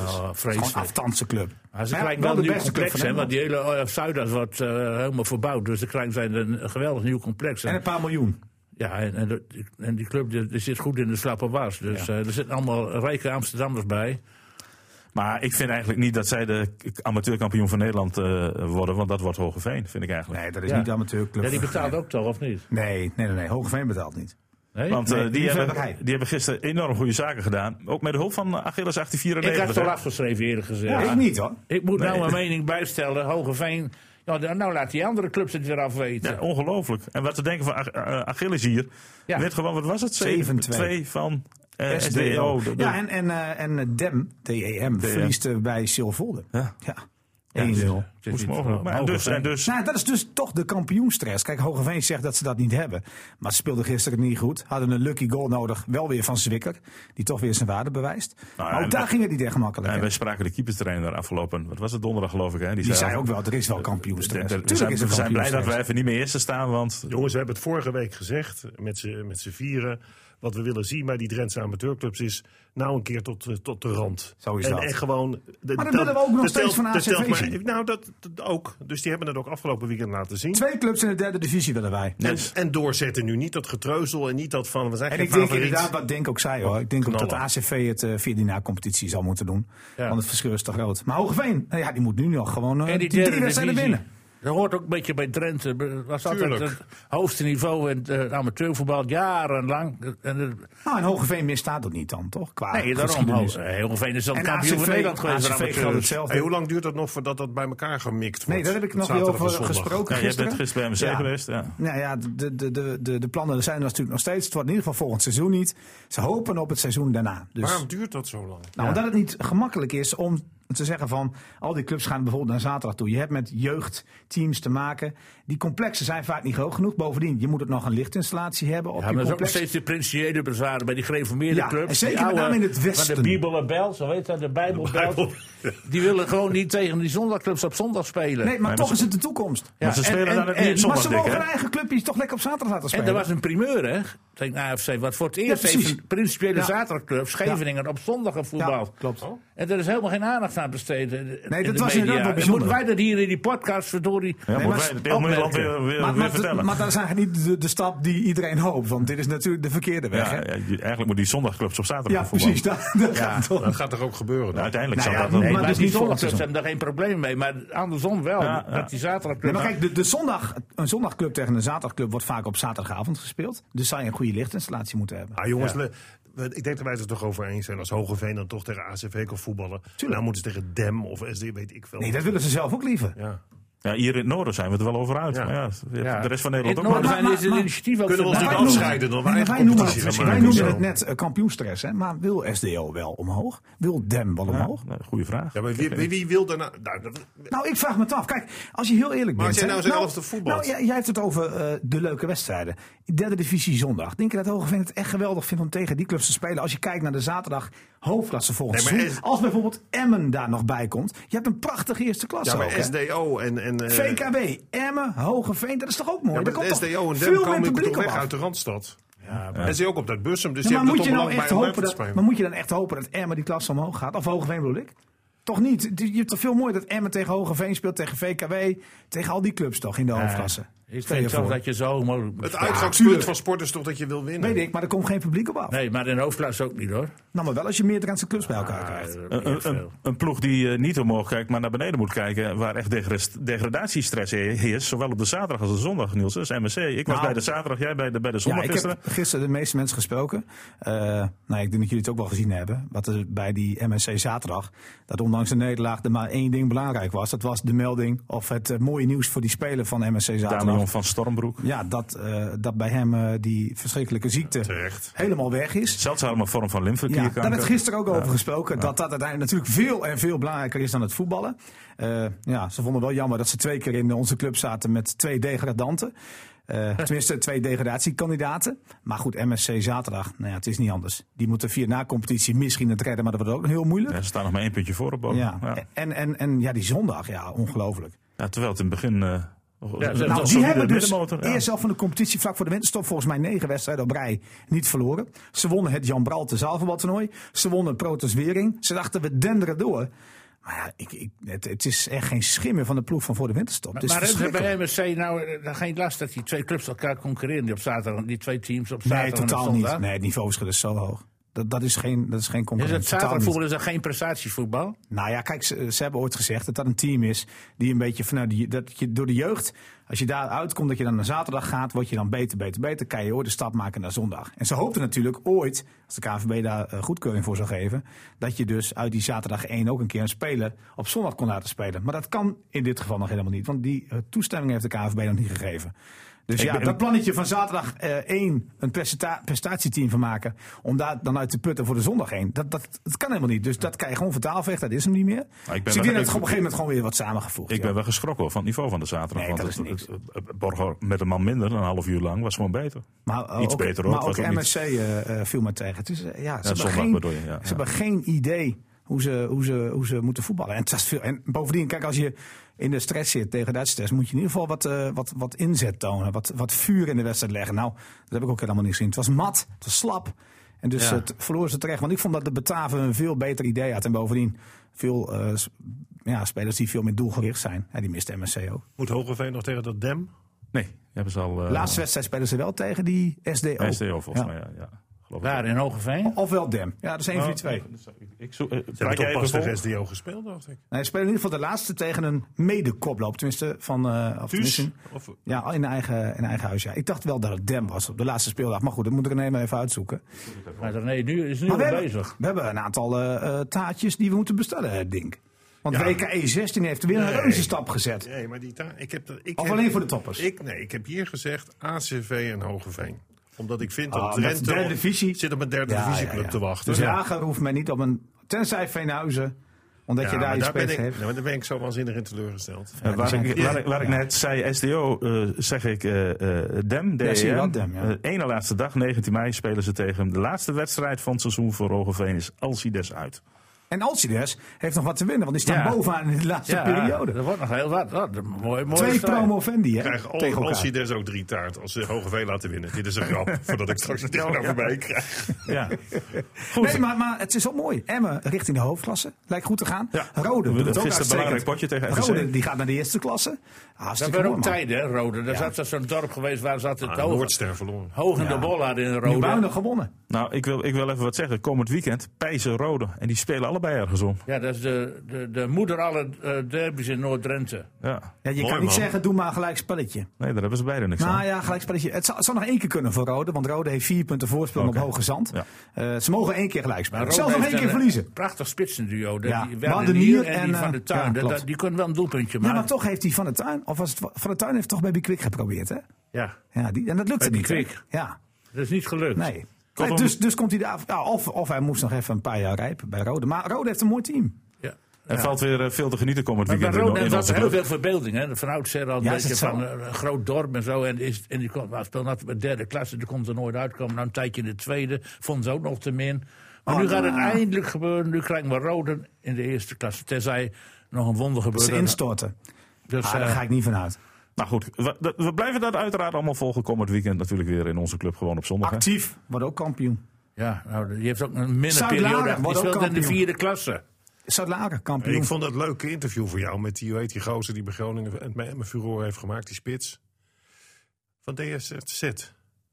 E: Oh,
C: Gewoon
E: vreselijk.
C: aftanse club.
E: Maar ze
C: Maar ja,
E: krijgen wel een nieuw complex,
C: van
E: hè, want
C: Nederland.
E: die hele eh, Zuidas wordt eh, helemaal verbouwd. Dus ze krijgen zijn een geweldig nieuw complex.
C: En een paar miljoen.
E: ja, en, en, dat- en die club die, die zit goed in de slappe was. Dus eh, er zitten allemaal rijke Amsterdammers bij.
B: Maar ik vind eigenlijk niet dat zij de k- amateurkampioen van Nederland eh, worden, want dat wordt Hogeveen, vind ik eigenlijk.
C: Nee, dat is
E: Ja.
C: niet de amateurclub.
E: Ja, die betaalt ook toch, of niet?
C: Nee, nee, nee, nee. Hogeveen betaalt niet.
E: Nee?
B: Want eh,
C: nee,
B: die,
C: die
B: hebben,
C: verwerkerij.
B: die hebben gisteren enorm goede zaken gedaan. Ook met de hulp van eh, Achilles
E: ik had
B: 1894.
E: het al afgeschreven, eerlijk gezegd.
C: Ik niet hoor.
E: Ik moet nou
B: Nee.
E: mijn mening bijstellen. Hogeveen, ja, dan- nou laat die andere clubs het weer afweten.
B: Ja, ongelooflijk. En wat te denken van Ach- eh, Achilles hier.
E: Ja.
B: Werd gewoon, wat was het?
C: 7-2.
B: 7-2 van eh, SDO.
C: SDO.
B: De- de-
C: Ja, en, en, eh, en DEM, DEM, verliest eh, bij Silvolde.
B: Ja.
C: Ja. 1-0.
E: E Ja, het is
B: Hoe is het
E: niet
B: mogelijk? Maar en dus,
E: Hogeveen.
B: en dus
C: Nou, dat is dus toch de kampioenstress. Kijk, Hogeveen zegt dat ze dat niet hebben. Maar ze speelden gisteren niet goed. Hadden een lucky goal nodig. Wel weer van Zwikker. Die toch weer zijn waarde bewijst.
B: Nou,
C: maar
B: en
C: ook daar
B: dat-
C: ging het niet echt makkelijk.
B: En
C: hè.
B: wij spraken de keeperstrainer afgelopen, wat was het donderdag geloof ik, hè?
C: Die zei ook wel, er is wel
B: "Er- er-
C: kampioenstress.
B: We zijn,
C: Tuurlijk is
B: we
C: er
B: zijn blij dat
C: kampioenstress.
B: wij even niet meer eerste staan, want
D: Jongens, we hebben het vorige week gezegd, met z'n met z'n vieren. Wat we willen zien bij die Drentse amateurclubs is nou een keer tot, eh, tot de rand.
C: Zo is
D: en,
C: dat.
D: En gewoon... De,
C: Maar dat willen we ook nog
D: de
C: steeds van
D: de
C: ACV zien.
D: nou, dat, dat ook. Dus die hebben het ook afgelopen weekend laten zien.
C: Twee clubs in de derde divisie willen wij.
D: En,
B: Yes.
D: en doorzetten nu. Niet dat getreuzel en niet dat van... We zijn
C: En
D: geen
C: ik denk
D: favoriet.
C: inderdaad, wat Denk ook zei hoor. Ik denk ook dat de
D: Knallen.
C: ACV het eh, via die na-competitie zal moeten doen.
E: Ja.
C: Want het verschil is te groot. Maar Hogeveen, nou ja, die moet nu nog gewoon eh,
E: En
C: die,
E: derde
C: drie wedstrijden
E: divisie,
C: winnen.
E: Dat hoort ook een beetje bij Drenthe. Dat was altijd
D: Tuurlijk.
E: het hoogste niveau in het eh, amateurvoetbal, jarenlang. En, de-
C: Nou, en Hogeveen misstaat dat niet dan, toch? Qua
E: nee, daarom.
C: geschiedenis.
E: Heerenveen is dan
C: En
E: kampioen van
C: ACV,
E: Nederland
C: ACV
E: geweest. voor
C: geldt
E: amateurs.
C: hetzelfde.
D: Hey, hoe lang duurt dat nog voordat dat bij elkaar gemikt wordt?
C: Nee, daar heb ik
D: Op
C: nog weer
D: zaterdag en
C: over
D: zondag.
C: gesproken.
B: ja, je bent gisteren bij MC
C: Ja.
B: geweest. Ja.
C: Nou ja, de, de, de, de, de plannen zijn er natuurlijk nog steeds. Het wordt in ieder geval volgend seizoen niet. Ze hopen op het seizoen daarna. Dus,
D: Waarom duurt dat zo lang?
C: nou, omdat het niet gemakkelijk is om te zeggen van al die clubs gaan bijvoorbeeld naar zaterdag toe. Je hebt met jeugdteams te maken. Die complexen zijn vaak niet groot genoeg. Bovendien, je moet ook nog een lichtinstallatie hebben op
E: Ja,
C: je
E: maar dat is ook nog
C: complex.
E: steeds de princiële bezwaren bij die gereformeerde
C: Ja,
E: clubs.
C: en zeker
E: die
C: met name in het
E: Van
C: Westen.
E: de Bijbelbel, zo weet dat, de Bijbelbel. Die willen gewoon niet tegen die zondagclubs op zondag spelen.
C: Nee, maar
B: maar
C: toch
B: ze-
C: is het de toekomst.
E: Ja,
B: Want ze
E: en-
B: spelen
E: en-
B: daar
E: en-
B: niet op
E: maar
C: maar ze
B: zondag,
C: mogen
B: dik,
C: hun
B: hè?
C: eigen clubjes toch lekker op zaterdag laten
E: En
C: spelen.
E: er was een primeur, hè? nou, Tegen AFC, wat voor het eerst
C: precies.
E: heeft een principiële
C: Ja.
E: zaterdagclub Scheveningen op zondag
C: ja,
E: voetbal.
C: klopt.
E: En er is helemaal geen aandacht aan besteden. in
C: dat
E: de
C: was inderdaad wel
E: En
C: bijzonder.
E: Moeten wij dat hier in die podcast, verdorie.
B: Ja,
C: Nee,
B: moeten
C: maar-
B: wij het heel Nederland eh, weer, weer,
C: Maar,
B: weer
C: maar,
B: vertellen.
C: maar dat is eigenlijk niet de, de stap die iedereen hoopt. Want dit is natuurlijk de verkeerde weg.
B: ja,
C: hè?
B: ja, je- eigenlijk moet die zondagclubs op zaterdag
C: Ja,
B: gaan voetballen.
C: precies. Daar, daar gaat het om.
D: Dat gaat toch ook gebeuren?
B: Nou,
D: Dan?
B: uiteindelijk
C: Nou
B: zal
C: ja,
B: dat wel.
C: maar
E: maar
C: dus
E: die
C: niet volgend
E: zondagclubs
C: seizoen.
E: hebben daar geen probleem mee. Maar andersom wel.
B: Ja, ja.
E: Dat die
C: Nee,
E: zaterdagclubs...
C: maar kijk, de, de zondag, een zondagclub tegen een zaterdagclub wordt vaak op zaterdagavond gespeeld. Dus zou je een goede lichtinstallatie moeten hebben.
D: Ah, jongens, le- we- ik denk dat wij het er toch over eens zijn. Als Hogeveen dan toch tegen ACV kan voetballen. Nou moeten ze tegen Dem of SD, weet ik veel.
C: Nee, dat willen ze zelf ook liever.
D: Ja.
B: Ja, hier in het noorden zijn we het wel over uit.
D: Ja.
B: Maar ja,
E: Ja.
B: de rest van
E: In het
B: Nederland ook.
E: noorden
B: Maar-
E: zijn
C: maar-
E: is het
C: maar-
E: initiatief ook
D: Kunnen we ons
E: vandaan.
D: niet afscheiden dan?
C: Ja, maar wij noemen, het, wij
D: maken
C: noemen
D: of zo.
C: het net eh, kampioenstress, hè? maar wil SDO wel omhoog? Wil DEM wel
B: Ja,
C: omhoog?
B: nou, goeie vraag.
D: Ja, maar wie, wie, wie wil daarna... Nou, dat-
C: Nou, ik vraag me het af. Kijk, als je heel eerlijk
D: Maar
C: bent...
D: als jij
C: hè,
D: nou zo'n elfte voetbalt.
C: Nou, jij, jij hebt het over eh, de leuke wedstrijden. Derde divisie zondag. Denk je dat Hogeveen het echt geweldig vindt om tegen die clubs te spelen? Als je kijkt naar de zaterdag hoofdklasse volgend
D: Nee, maar
C: seizoen.
D: is-
C: Als bijvoorbeeld Emmen daar nog bij komt. Je hebt een prachtige eerste klasse
D: ja,
C: ook,
D: maar
C: hè?
D: SDO en... en eh,
C: VKB, Emmen, Hogeveen. Dat is toch ook mooi?
D: Ja,
C: Er
D: maar
C: komt
D: de
C: toch
D: SDO en
C: veel
D: DEM
C: meer
D: komen
C: publiek
D: toch
C: op
D: weg
C: af?
D: uit de Randstad. En ze ook op dat bussum, dus
C: Ja,
D: die
C: maar,
D: hebben
C: moet
D: er
C: je nou
D: toch belang bij
C: echt
D: om mee
C: hopen
D: te
C: dat, maar
D: spelen.
C: moet je dan echt hopen dat Emmen die klas omhoog gaat? Of Hogeveen bedoel ik? Toch niet? Het- Je hebt toch veel mooi dat Emmen tegen Hogeveen speelt, tegen VKW, tegen al die clubs toch in de hoofdklasse.
E: Ik
C: Stel je
E: vind zelf
C: voor.
E: dat je zo mogelijk moet
D: Het
E: spelen.
D: uitgangspunt
C: tuurlijk.
D: van sport is toch dat je wil winnen?
C: Weet ik, maar er komt geen publiek op af.
E: Nee, maar in hoofdklasse ook niet hoor.
C: Nou, maar wel als je meerdere aan zijn clubs bij elkaar krijgt.
E: Eh,
B: Een, een- een, een ploeg die eh, niet omhoog kijkt, maar naar beneden moet kijken. Waar echt degres- degradatiestress he- heerst. Zowel op de zaterdag als de zondag, Niels. Dat is MSC. Ik was
C: Nou.
B: bij de zaterdag, jij bij de, bij de
C: Ja,
B: zondag
C: ik
B: gisteren.
C: heb gisteren de meeste mensen gesproken. Eh, nou, ik denk dat jullie het ook wel gezien hebben. Wat er bij die MSC zaterdag. Dat ondanks de nederlaag er maar één ding belangrijk was. Dat was de melding of het eh, mooie nieuws voor die speler van MSC zaterdag.
B: Damian van Stormbroek.
C: Ja, dat, eh, dat bij hem eh, die verschrikkelijke ziekte
D: Terecht.
C: helemaal weg is.
B: Zeldzame vorm van
C: Ja,
B: lymfeklierkanker.
C: daar werd gisteren ook over gesproken. Dat dat uiteindelijk natuurlijk veel en veel belangrijker is dan het voetballen. Eh, ja, ze vonden wel jammer dat ze twee keer in onze club zaten met twee degradanten.
B: <laughs>
C: Eh, tenminste, twee degradatiekandidaten. Maar goed, MSC zaterdag, nou ja, het is niet anders. Die moeten via na-competitie misschien het redden, maar dat wordt ook nog heel moeilijk.
B: Ja, ze staan nog maar één puntje voor op. Bochum.
C: Ja. Eh,
B: Ja.
C: En, en, en ja, die zondag, ja, ongelooflijk.
B: Ja, terwijl het in het begin... eh, nog-
E: hebben
B: nog
E: het
C: Nou,
E: Dat
C: die
B: solide
C: hebben dus
B: middenmotor, ja.
C: eerst al van de competitie vlak voor de winterstop volgens mij negen wedstrijden op rij niet verloren. Ze wonnen het Jan Bralte zaalvoetbaltoernooi. Ze wonnen Protos Wering. Ze dachten we denderen door. Maar ja, ik, ik, het, het is echt geen schimmer van de ploeg van voor de winterstop. Het is
E: maar hebben ze
C: verschrikkelijk.
E: bij MSC nou eh, dan geen last dat die twee clubs elkaar concurreren die op zaterdag, die twee teams op zaterdag
C: Nee,
E: en
C: totaal
E: zondag?
C: niet. Nee, het niveauverschil is zo hoog. Dat, dat is geen, dat is geen
E: Is het
C: concurrentie. Totaal niet.
E: zaterdagvoetbal is dat geen prestatievoetbal?
C: Nou ja, kijk, ze, ze hebben ooit gezegd dat dat een team is die een beetje vanuit die, dat je door de jeugd, als je daar uitkomt, dat je dan naar zaterdag gaat, word je dan beter, beter, beter, kan je ooit de stap maken naar zondag. En ze hoopten natuurlijk ooit, als de KNVB daar eh, goedkeuring voor zou geven, dat je dus uit die zaterdag 1 ook een keer een speler op zondag kon laten spelen. Maar dat kan in dit geval nog helemaal niet, want die eh, toestemming heeft de KNVB nog niet gegeven. Dus
B: Ik
C: ja,
B: ben-
C: dat plannetje van zaterdag eh 1 een prestata- prestatieteam van maken. Om daar dan uit te putten voor de zondag heen. Dat, dat, dat kan helemaal niet. Dus dat kan je gewoon vertaalvechten. Dat is hem niet meer.
B: ben
C: dus
B: wel-
C: ik denk dat
B: Nou, ik-
C: het op een gegeven moment gewoon weer wat samengevoegd.
B: Ik
C: ja.
B: ben wel geschrokken hoor, van het niveau van de zaterdag.
C: Nee,
B: want
C: dat
B: het-
C: is niks.
B: het- het- Borger met een man minder, een half uur lang, was gewoon beter.
C: maar, eh,
B: iets
C: ook,
B: beter, hoor.
C: Maar
B: Het
C: ook
B: was ook niet-
C: MSC eh, eh, viel me tegen. Dus, eh, ja, ze, hebben
B: zondag
C: geen,
B: bedoel je, ja,
C: ze
B: ja.
C: hebben geen idee hoe ze, hoe ze, hoe ze moeten voetballen. En, het was veel, en bovendien, kijk, als je in de stress zit tegen dat stress, moet je in ieder geval wat, eh, wat, wat inzet tonen. Wat, wat vuur in de wedstrijd leggen. Nou, dat heb ik ook helemaal niet gezien. Het was mat, het was slap. En dus
B: Ja.
C: het verloren ze terecht. Want ik vond dat de Bataven een veel beter idee had. En bovendien veel eh, s- ja, spelers die veel meer doelgericht zijn. Ja, die mist MSC ook.
D: Moet Hogeveen nog tegen dat dem?
B: Nee, die hebben ze al... eh,
C: De laatste wedstrijd spelen ze wel tegen die SDO.
B: SDO volgens
C: Ja.
B: mij, ja. ja. Geloof ik. Oh.
E: Waar, in Hogeveen?
C: Ofwel Dem. Ja, dat is één
D: Oh,
C: van die twee.
B: Ik zoek, eh,
D: Ze
B: praat
D: hebben
B: jij
D: toch pas
B: even
D: tegen
B: vol?
D: SDO gespeeld, dacht ik.
C: Nee, ze spelen in ieder geval de laatste tegen een mede-koploop. Tenminste, van... eh, of
D: Thuis?
C: tenminste,
D: Dus? Of,
C: ja, in eigen, in eigen huis, ja. Ik dacht wel dat het Dem was op de laatste speeldag. Maar goed, dat moet ik René maar even uitzoeken.
E: Maar dan- nee, nu is nu
C: Maar
E: al
C: we, hebben,
E: bezig.
C: we hebben een aantal eh, eh, taartjes die we moeten bestellen, eh, Dink. Want
D: Ja.
C: WKE 16 heeft weer een
D: Nee.
C: reuze stap gezet.
D: nee, maar die ta- ik heb dat, ik
C: Of
D: heb-
C: alleen voor de toppers?
D: Ik, nee, ik heb hier gezegd ACV en Hogeveen. Omdat ik vind dat
C: Ah, met
D: Drenthe
C: derde divisie.
D: zit op een derde
C: Ja,
D: divisieclub
C: ja, ja.
D: te wachten.
C: Dus
D: Ja.
C: Jager hoeft mij niet op een... Tenzij Veenhuizen, omdat
D: Ja,
C: je
D: maar
C: daar iets
D: ben
C: beter
D: ik,
C: heeft.
D: ja, maar daar ben ik zo waanzinnig in teleurgesteld.
B: Eh, waar,
C: zijn-
B: ik, waar, ik- waar ik
C: Ja.
B: net zei SDO, eh, zeg ik eh eh, DEM. DEM.
C: Ja, zie je wel, DEM, ja.
B: Eh, ene laatste dag, 19 mei, spelen ze tegen hem. De laatste wedstrijd van het seizoen voor Roggeveen is Alcides uit.
C: En Alcides heeft nog wat te winnen, want die staan
E: Ja.
C: bovenaan in de laatste
E: Ja,
C: periode.
E: Er wordt nog heel wat. Wat een mooi, mooi
C: Twee promovendi, hè?
D: Ik krijg al,
C: tegen elkaar.
D: als hij dus ook drie taart als ze Hogeveen laten winnen. Dit is een
C: <laughs>
D: grap, voordat ik straks het tegenover mij krijg.
B: Ja. <laughs> Goed.
C: Nee, maar, maar het is wel mooi. Emmen richting de hoofdklasse. Lijkt goed te gaan.
B: Ja.
C: Rode.
B: Gisteren
C: doet het ook
B: een
C: uitstekend.
B: belangrijk potje tegen FC.
C: Rode die gaat naar de eerste klasse.
E: Dat
C: Hartstikke
E: waren ook
C: mooi, man.
E: tijden, hè, Rode. Daar zat zat zo'n dorp geweest waar zat het
D: Ah,
E: hoog,
D: Noordster verloren.
E: hoog in de bol hadden in Rode.
C: Nieuwbuinen gewonnen.
B: Nou, ik wil, ik wil even wat zeggen. Komend weekend, Pijzen Rode. En die spelen allebei ergens om.
E: Ja, dat is de, de, de moeder alle eh, derbies in Noord-Drenthe.
B: Ja.
C: Ja, je
D: Mooi,
C: kan niet
D: man.
C: zeggen, doe maar een gelijk spelletje.
B: Nee, daar hebben ze beide niks aan.
C: Nou ja, gelijk spelletje. Het zou, het zou nog één keer kunnen voor Rode, want Rode heeft vier punten voorsprong
B: Oké.
C: op Hoge Zand.
B: Ja.
C: Eh, ze mogen één keer gelijk
E: Maar
C: spelen. Zelfs
E: Roda
C: nog
E: heeft
C: één keer
E: een,
C: verliezen.
E: eh, Prachtig spitsenduo. De,
C: Ja,
E: die
C: Wadenier
E: Wadenier en die
C: en, eh,
E: van de tuin.
C: ja,
E: Dat- dat-
C: klopt.
E: die kunnen wel een doelpuntje
C: Ja,
E: maken.
C: maar toch heeft die Van der Tuin, of was het Van der Tuin heeft toch bij Bikwik geprobeerd, hè?
D: Ja.
C: Ja, die, en dat lukte
E: Bij
C: niet. hè?
E: Bikwik.
C: Ja,
E: Dat is niet gelukt.
C: nee.
B: Kortom-
C: Nee, dus, dus komt hij daar. ja, of, of hij moest nog even een paar jaar rijpen bij Rode. Maar Rode heeft een mooi team.
E: Ja.
B: Er valt weer eh, veel te genieten komend
E: Maar bij
B: weekend. in-
E: Roda
B: in
E: was
B: onze
E: er heel
B: club.
E: veel verbeelding. Hè. Van oudsher al een
C: Ja, is
E: beetje
C: het zo?
E: van eh, een groot dorp en zo. En, is, en die kwam, maar speelde altijd met derde klasse, die kon er nooit uitkomen. Nou, een tijdje in de tweede, vond ze ook nog te min. Maar
C: Oh,
E: nu gaat het
C: nou.
E: eindelijk gebeuren. Nu krijgen we Roden in de eerste klasse. Tenzij nog een wonder gebeurt.
C: Ze instorten.
E: Dus,
C: ah, daar
E: eh,
C: ga ik niet van uit.
B: Nou goed, we, dat- we blijven dat uiteraard allemaal volgen. Komend weekend natuurlijk weer in onze club. Gewoon op zondag. hè.
C: Actief, wordt ook kampioen.
E: Ja, nou, die heeft ook een minder
C: Zuid-Laren
E: periode. Die
C: wordt ook
E: speelt in de
C: kampioen.
E: vierde klasse.
C: Zuid-Laren,
D: En
C: kampioen.
D: ik vond dat leuke interview voor jou met die, hoe heet die gozer die bij Groningen en mijn furore heeft gemaakt, die spits. Van DSZ.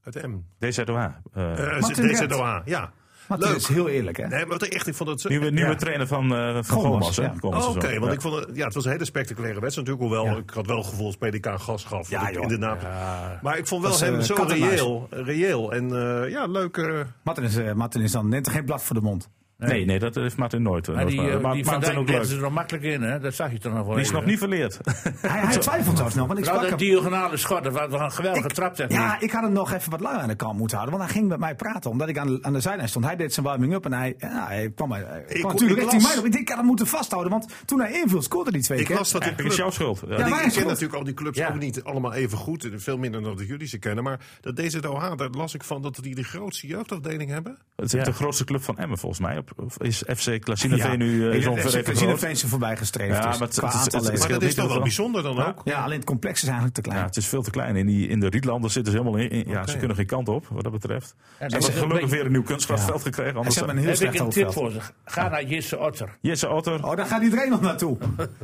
D: Uit M.
B: DZOA. eh,
D: Eh
C: Martin
D: DZOA, ja.
C: maar
D: leuk.
C: dat is heel eerlijk, hè?
D: Nee, maar wat ik echt, ik vond het... zo-
B: nieuwe nieuwe
C: ja.
B: trainer van, eh van
C: Gomas,
B: Gomas. hè,
C: ja.
B: komend
D: Oh, Oké,
B: seizoen.
D: want
B: Ja.
D: ik vond het, ja, het was een hele spectaculaire wedstrijd natuurlijk. Hoewel, ik had wel gevoeld dat PDK gas gaf.
C: Ja,
D: want ik
C: joh.
D: in de naam- Maar ik vond wel
C: Dat is,
D: hem
C: eh,
D: zo
C: kat en muis.
D: reëel, reëel. En eh, ja, leuk. eh,
C: Martin, is, eh, Martin is dan net geen blad voor de mond.
B: Nee, nee, dat heeft Martin nooit. eh,
E: Maar
B: dat
E: die,
B: is waar.
E: eh,
B: maar,
E: die Van
B: Martin
E: Dijk
B: ook
E: legde ze
B: leuk.
E: er nog makkelijk in, hè? Dat zag je toch nog wel
B: Die is
E: even.
B: nog niet verleerd.
C: Hij, hij twijfelt zelfs nog, want ik
E: Nou,
C: sprak
E: dat
C: hem.
E: diagonale schot, dat was een geweldige trap.
C: Ja, ik had hem nog even wat langer aan de kant moeten houden. Want hij ging met mij praten, omdat ik aan de, aan de zijlijn stond. Hij deed zijn warming-up en hij, ja, hij kwam, hij kwam
D: Ik-
C: natuurlijk
D: ik
C: richting
D: las-
C: mij. op. Ik denk, ik had hem moeten vasthouden, want toen hij inviel scoorde hij twee
D: ik
C: keer.
D: las dat die
B: Eigenlijk is
D: club...
B: jouw schuld. Ja.
C: Ja,
D: Ik,
C: maar-
D: ik ken
C: goed.
D: natuurlijk al die clubs
E: Ja.
D: ook niet allemaal even goed. en Veel minder dan dat jullie ze kennen. Maar dat DZOH, daar las ik van dat die de grootste jeugdafdeling hebben.
B: Het is de grootste club van Emmen volgens mij. Op- of Is FC Klasineveen nu eh,
C: ik
B: is
C: denk dat
B: ongeveer even
C: FC
B: groot.
C: Veen is er voorbij gestreefd. dus
B: Ja,
C: Ja,
B: maar
C: maar
B: het- het- het- het-
D: Maar
B: scheelt
D: dat is toch
B: niet
D: wel
B: heel
D: bijzonder dan ook?
C: ja, alleen het complex is eigenlijk te klein.
B: Ja, het is veel te klein. In, die, in de Rietlanders zitten ze helemaal in. in- ja, ze kunnen geen kant op, wat dat betreft.
E: dat
B: ze
E: is
B: hebben
E: een
B: gelukkig
E: beetje-
B: weer een nieuw kunstgrasveld gekregen.
C: en
B: Anders
C: ze hebben
B: dan-
C: een heel
E: Heb ik
C: slecht
E: een tip
C: hoofdveld.
E: voor ze. Ga naar Jesse Otter.
B: Jesse Otter,
C: Oh, daar gaat iedereen nog naartoe.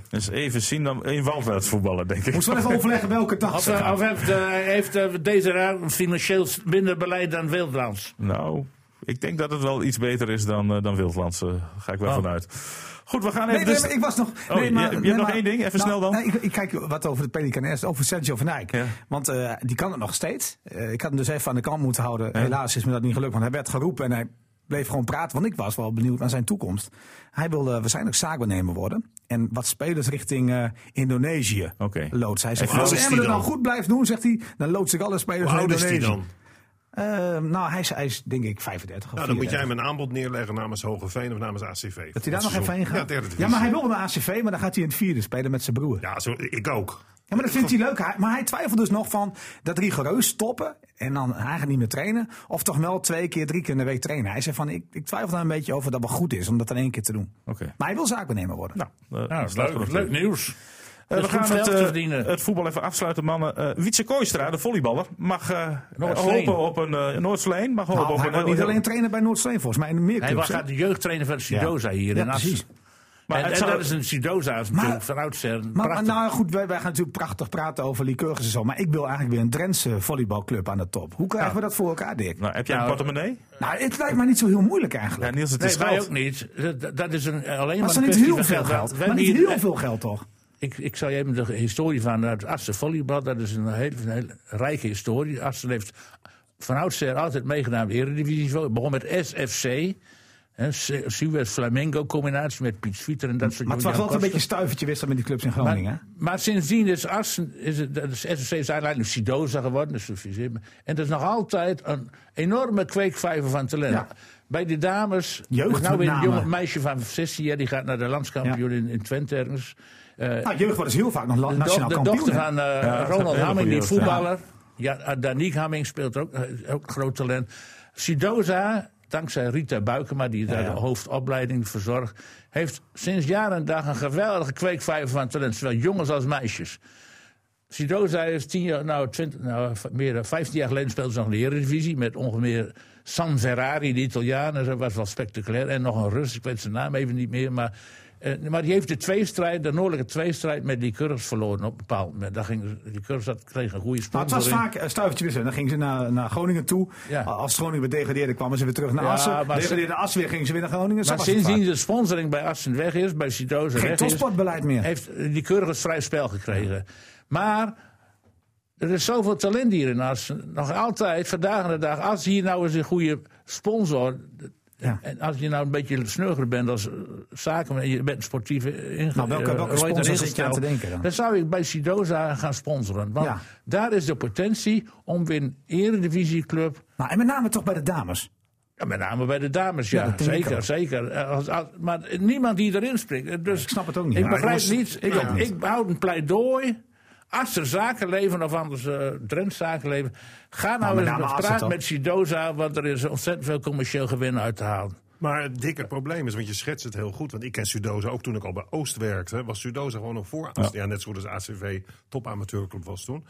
B: eens even zien dan in Walveld voetballen, denk ik.
C: Moest wel even overleggen welke dag
E: Of,
C: ze
E: eh,
C: gaan.
E: of heeft, eh, heeft eh, deze raad een financieel minder beleid dan Wildlands?
B: Nou, ik denk dat het wel iets beter is dan, eh, dan Wildlands. eh, ga ik wel
E: Oh.
B: vanuit. Goed, we gaan
C: Nee,
B: even...
C: nee,
B: dus-
C: maar ik was nog.
B: Oh,
C: nee,
B: je-
C: maar,
B: je hebt
C: nee,
B: nog
C: maar-
B: één ding? Even
C: nou,
B: snel dan.
C: nee, ik, ik kijk wat over de Pelican eerst, over Sergio van Dijk.
B: Ja.
C: Want eh, die kan het nog steeds. Eh, ik had hem dus even aan de kant moeten houden. Helaas is me dat niet gelukt, want hij werd geroepen en hij bleef gewoon praten. Want ik was wel benieuwd naar zijn toekomst. Hij wil eh, waarschijnlijk zaakwaarnemer worden. En wat spelers richting eh, Indonesië
B: Oké.
C: loods. Hij zegt,
D: hoe oud
C: als
D: is die
C: Emmen het
D: dan?
C: nou goed blijft doen, zegt hij, dan loods ik alle spelers
D: Hoe
C: naar
D: oud is die
C: Indonesië.
D: dan?
C: Eh, nou, hij is, hij is denk ik 35 of
D: Nou, dan moet
C: 34.
D: jij hem een aanbod neerleggen namens Hogeveen of namens ACV.
C: Dat hij daar
D: Voor
C: nog
D: het
C: even heen
D: seizoen.
C: gaat.
D: Ja,
C: Ja,
D: derde
C: maar hij
D: divisie.
C: wil naar ACV, maar dan gaat hij in het vierde spelen met zijn broer. Ja,
D: Ja, zo, ik ook.
C: maar dat vindt hij leuk. Hij- maar hij twijfelt dus nog van dat rigoureus stoppen en dan eigenlijk niet meer trainen. Of toch wel twee keer, drie keer in de week trainen. Hij zei van, ik, ik twijfel daar een beetje over dat wel goed is om dat in één keer te doen.
B: Oké.
C: Maar hij wil zaakbenemer worden.
B: Nou, eh,
E: Nou,
B: staat er nog
E: leuk, leuk nieuws.
B: Eh,
E: Dat
B: we
E: is goed
B: gaan het,
E: geld
B: eh,
E: te verdienen.
B: het voetbal even afsluiten, mannen. Eh Wietse Kooistra, de volleyballer, mag eh,
E: Noordsveen.
B: hopen op een eh Noordsveen. Mag hopen
C: Nou,
B: op
C: hij
B: een eh, heel-
C: wordt niet alleen trainer bij Noordsteen volgens mij, in de meer
E: Hij was
C: clubs, hè?
E: gaat de jeugdtrainer van Sidoza hier
C: Ja,
E: in
C: precies.
E: Assen.
B: Maar
E: en,
B: het
E: en
B: zou-
E: dat is een Sidoza is natuurlijk van oudsher. een
C: Maar, maar
E: prachtig-
C: nou goed, wij, wij gaan natuurlijk prachtig praten over Lycurgus en zo. Maar ik wil eigenlijk weer een Drentse volleybalclub aan de top. Hoe krijgen we dat voor elkaar, Dick?
B: Nou, heb jij een
E: Nou,
B: portemonnee?
C: Nou, het lijkt mij niet zo heel moeilijk eigenlijk.
B: Ja, Niels, het
E: Nee,
B: is
E: wij
B: geld.
E: ook niet. Dat, dat is een, eh, alleen
C: Maar
E: maar
C: het
E: een
C: is niet
E: kwestie
C: heel
E: van
C: veel geld.
E: We
C: Maar
E: hebben
C: niet
E: hier-
C: heel veel geld toch?
E: Ik, ik zal je even de historie van eh, het Assen volleybal. Dat is een hele, een hele rijke historie. Assen heeft van oudsher altijd meegedaan aan de Eredivisie. Het begon met SFC. hè, Su- Suez-Flamengo-combinatie met Piet Svieter en dat soort
C: Maar het was
E: Jan
C: wel altijd een beetje
E: Koster.
C: stuivertje wisselen met die clubs in
E: Maar-
C: Groningen. hè?
E: Maar sindsdien is Assen, is het, dat is SFC is uiteindelijk Sidoza geworden. Dus dat is- en dat is nog altijd een enorme kweekvijver van talent.
C: Ja.
E: Bij de dames,
C: Jeugd
E: er is nou
C: met
E: weer een
C: name.
E: jonge meisje van 16 jaar, die gaat naar de landskampioen in, in Twente ergens.
C: Nou, jeugd wordt dus heel vaak nog la-
E: De,
C: nationaal
E: doch- de
C: kampioen.
E: dochter
C: hè?
E: van eh,
B: dat is een
E: Ronald
B: hele
E: Hamming,
B: goede
E: die
B: jeugd,
E: voetballer. Ja, eh, Danique Hamming speelt ook, eh, ook groot talent. Sidoza, dankzij Rita Buikema, die daar de hoofdopleiding verzorgt... heeft sinds jaren en dag een geweldige kweekvijver van talent. Zowel jongens als meisjes. Sidoza is tien jaar, nou, 20, nou v- meer dan 15 jaar geleden speelde ze nog in de Eredivisie... met ongeveer San Ferrari, de Italianen, dat was wel spectaculair. En nog een Rus, ik weet zijn naam even niet meer. Maar, eh, maar die heeft de tweestrijd, de noordelijke tweestrijd met Lycurgus verloren op een bepaald moment. Daar ging, Lycurgus had, kreeg een goede
C: Nou,
E: sponsor
C: het was
E: in.
C: vaak een stuivertje wisselen. Dan gingen ze naar, naar Groningen toe.
E: Ja.
C: Als Groningen degradeerde, kwamen ze weer terug naar
E: Ja,
C: Assen.
E: maar
C: Degradeerde Assen weer, gingen ze weer naar Groningen. Zo
E: Maar
C: was het
E: sindsdien
C: vaak.
E: de sponsoring bij Assen weg is, bij Citroën
C: Geen
E: weg is,
C: topsportbeleid meer.
E: heeft eh, Lycurgus vrij spel gekregen. Maar er is zoveel talent hier in Assen. Nog altijd, vandaag en de dag. Als hier nou eens een goede sponsor.
C: Ja.
E: En als je nou een beetje snugger bent als eh, zakenman en je bent sportief ingegaan.
C: Nou, welke- welke sponsor zit je aan te denken dan?
E: zou ik bij Sidoza gaan sponsoren. Want
C: Ja.
E: daar is de potentie om weer een eredivisieclub
C: Nou, en met name toch bij de dames.
E: ja, met name bij de dames,
C: Ja,
E: ja.
C: dat denk ik ook.
E: zeker, zeker. Eh, als- als- maar niemand die erin springt. Dus
C: ik snap het ook niet.
E: Ik
C: Maar
E: begrijp
C: jongens,
E: niet.
C: ik
E: Ik,
C: ook niet.
E: ik houd een pleidooi. Als er zakenleven of anders eh Drents zakenleven. Ga nou,
C: met
E: eens
C: name
E: eens
C: Assen
E: praten
C: toch?
E: met Sidoza, want er is ontzettend veel commercieel gewin uit te halen.
D: Maar het dikke probleem is, want je schetst het heel goed. Want ik ken Sudoza ook toen ik al bij Oost werkte. Was Sudoza gewoon een voor ja. net zo goed als ACV topamateurclub was toen.